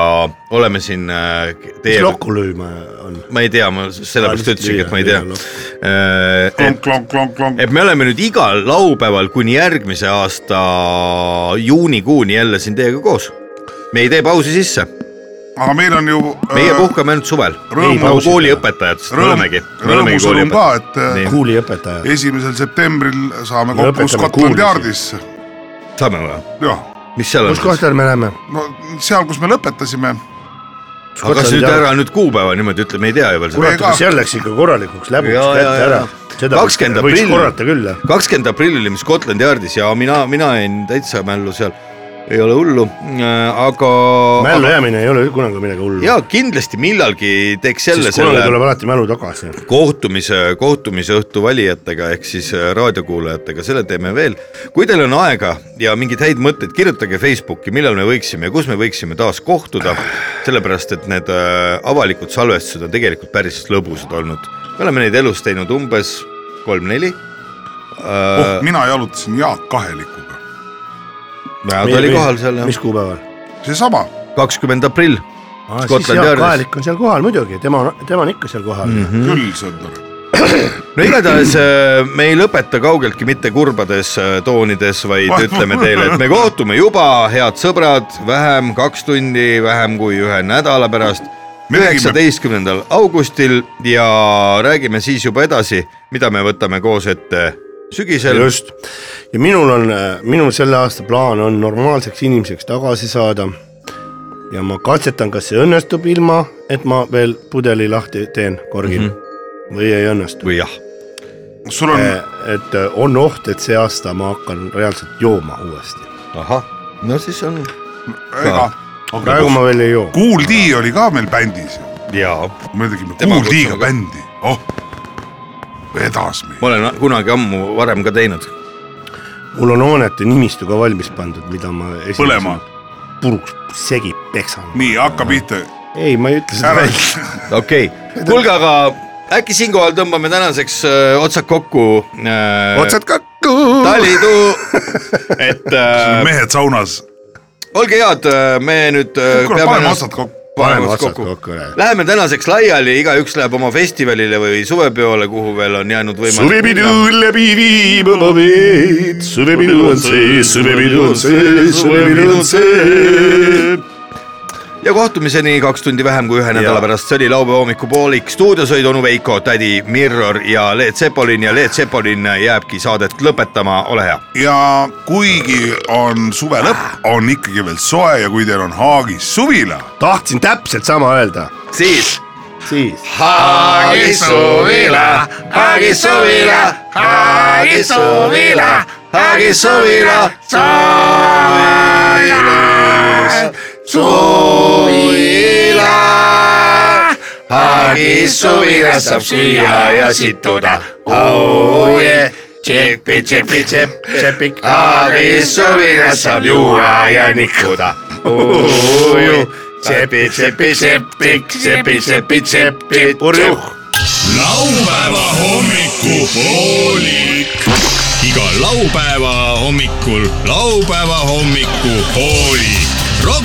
oleme siin äh, mis teiega lokku lööma on ? ma ei tea , ma sellepärast Aa, ütlesingi , et ma ei lüüa- tea Äh, lüüa lokku. . et , klonk-klonk-klonk-klonk . et me oleme nüüd igal laupäeval kuni järgmise aasta juunikuuni jälle siin teiega koos . me ei tee pausi sisse , aga meil on ju meie äh, puhkame ainult suvel . Rõõmu- nagu kooliõpetajad , sest me rõõm- olemegi . rõõmusõnum ka , et äh, Nii. kuuli õpetaja . esimesel septembril saame kokku Lõpetame Scotland kuulmise. Yardisse . saame või ? jah , mis seal kus on ? kohta me läheme ? no seal , kus me lõpetasime , aga kas nüüd ära nüüd kuupäeva niimoodi ütle , me ei tea ju veel kurat , seda aga . seal läks ikka korralikuks läbuks Jaa, jaa, kätte ära jaa. . seda 20. võiks aprill. korrata küll , jah . kakskümmend aprill oli meil Scotland Yardis ja mina , mina jäin täitsa mällu seal , ei ole hullu , aga . mällu jäämine ei ole kunagi midagi hullu . ja kindlasti millalgi teeks jälle siis kunagi selle tuleb alati mälu tagasi . kohtumise , kohtumise õhtu valijatega ehk siis eh, raadiokuulajatega , selle teeme veel . kui teil on aega ja mingeid häid mõtteid , kirjutage Facebooki , millal me võiksime ja kus me võiksime taas kohtuda , sellepärast et need eh, avalikud salvestused on tegelikult päris lõbusad olnud . me oleme neid elus teinud umbes kolm-neli . Äh. oh , mina jalutasin Jaak Kahelikuga , ta oli kohal seal jah mis , kuupäeval ? seesama , kakskümmend aprill . Aa, siis Scotland Jaak Yardis. Mhm. Kaelik on seal kohal muidugi , tema on , tema on ikka seal kohal mm . -hmm. küll sõber . no igatahes äh, me ei lõpeta kaugeltki mitte kurbades äh, toonides , vaid ütleme teile , et me kohtume juba , head sõbrad , vähem kaks tundi , vähem kui ühe nädala pärast , Me tegime- üheksateistkümnendal augustil ja räägime siis juba edasi , mida me võtame koos ette sügisel . just , ja minul on , minul selle aasta plaan on normaalseks inimeseks tagasi saada . ja ma katsetan , kas see õnnestub ilma , et ma veel pudeli lahti teen , korgin mm Mhm. -hmm. või ei õnnestu . või jah , sul Mm. on et äh, on oht , et see aasta ma hakkan reaalselt jooma uuesti . ahah , no siis on ega , praegu ma veel ei joo . Kool D oli ka meil bändis ju , ja me tegime Tema Kool D-ga kutsuga. bändi , oh , vedas meid . ma olen kunagi ammu varem ka teinud , mul on hoonete nimistu ka valmis pandud , mida ma . Põlema. . puruks segi peksan . nii , hakka pihta , ei , ma ei ütle seda ära välja . okei okay. , kuulge , aga äkki siinkohal tõmbame tänaseks äh, otsad kokku äh, . otsad kokku , talitu , et äh, mehed saunas , olge head , me nüüd äh, kuule paneme otsad kokku . paneme paneme otsad otsad kokku . kokku ära . Läheme tänaseks laiali , igaüks läheb oma festivalile või suvepeole , kuhu veel on jäänud võimalik minna . läbi viib oma veed , suvepidu on sees , suvepidu on sees , suvepidu on sees . ja kohtumiseni kaks tundi vähem kui ühe nädala pärast , see oli laupäeva hommikupoolik , stuudios olid onu Veiko , tädi Mirror ja Leet Sepolin ja Leet Sepolin jääbki saadet lõpetama , ole hea . ja kuigi on suve lõpp , on ikkagi veel soe ja kui teil on Haagis suvila , tahtsin täpselt sama öelda . siis . siis . Haagis suvila , Haagis suvila , Haagis suvila , Haagis suvila , suvila , suvila . Haagis suvila saab süüa ja situda , oo jee , tšepi , tšepi , tšep , tšepik . Haagis suvila saab juua ja nikuda , oo jee , tšepi , tšepi , tšepik , tšepi , tšepi , tšepi , purjuh . laupäeva hommikupoolik . iga laupäeva hommikul laupäeva hommikupoolik . Rock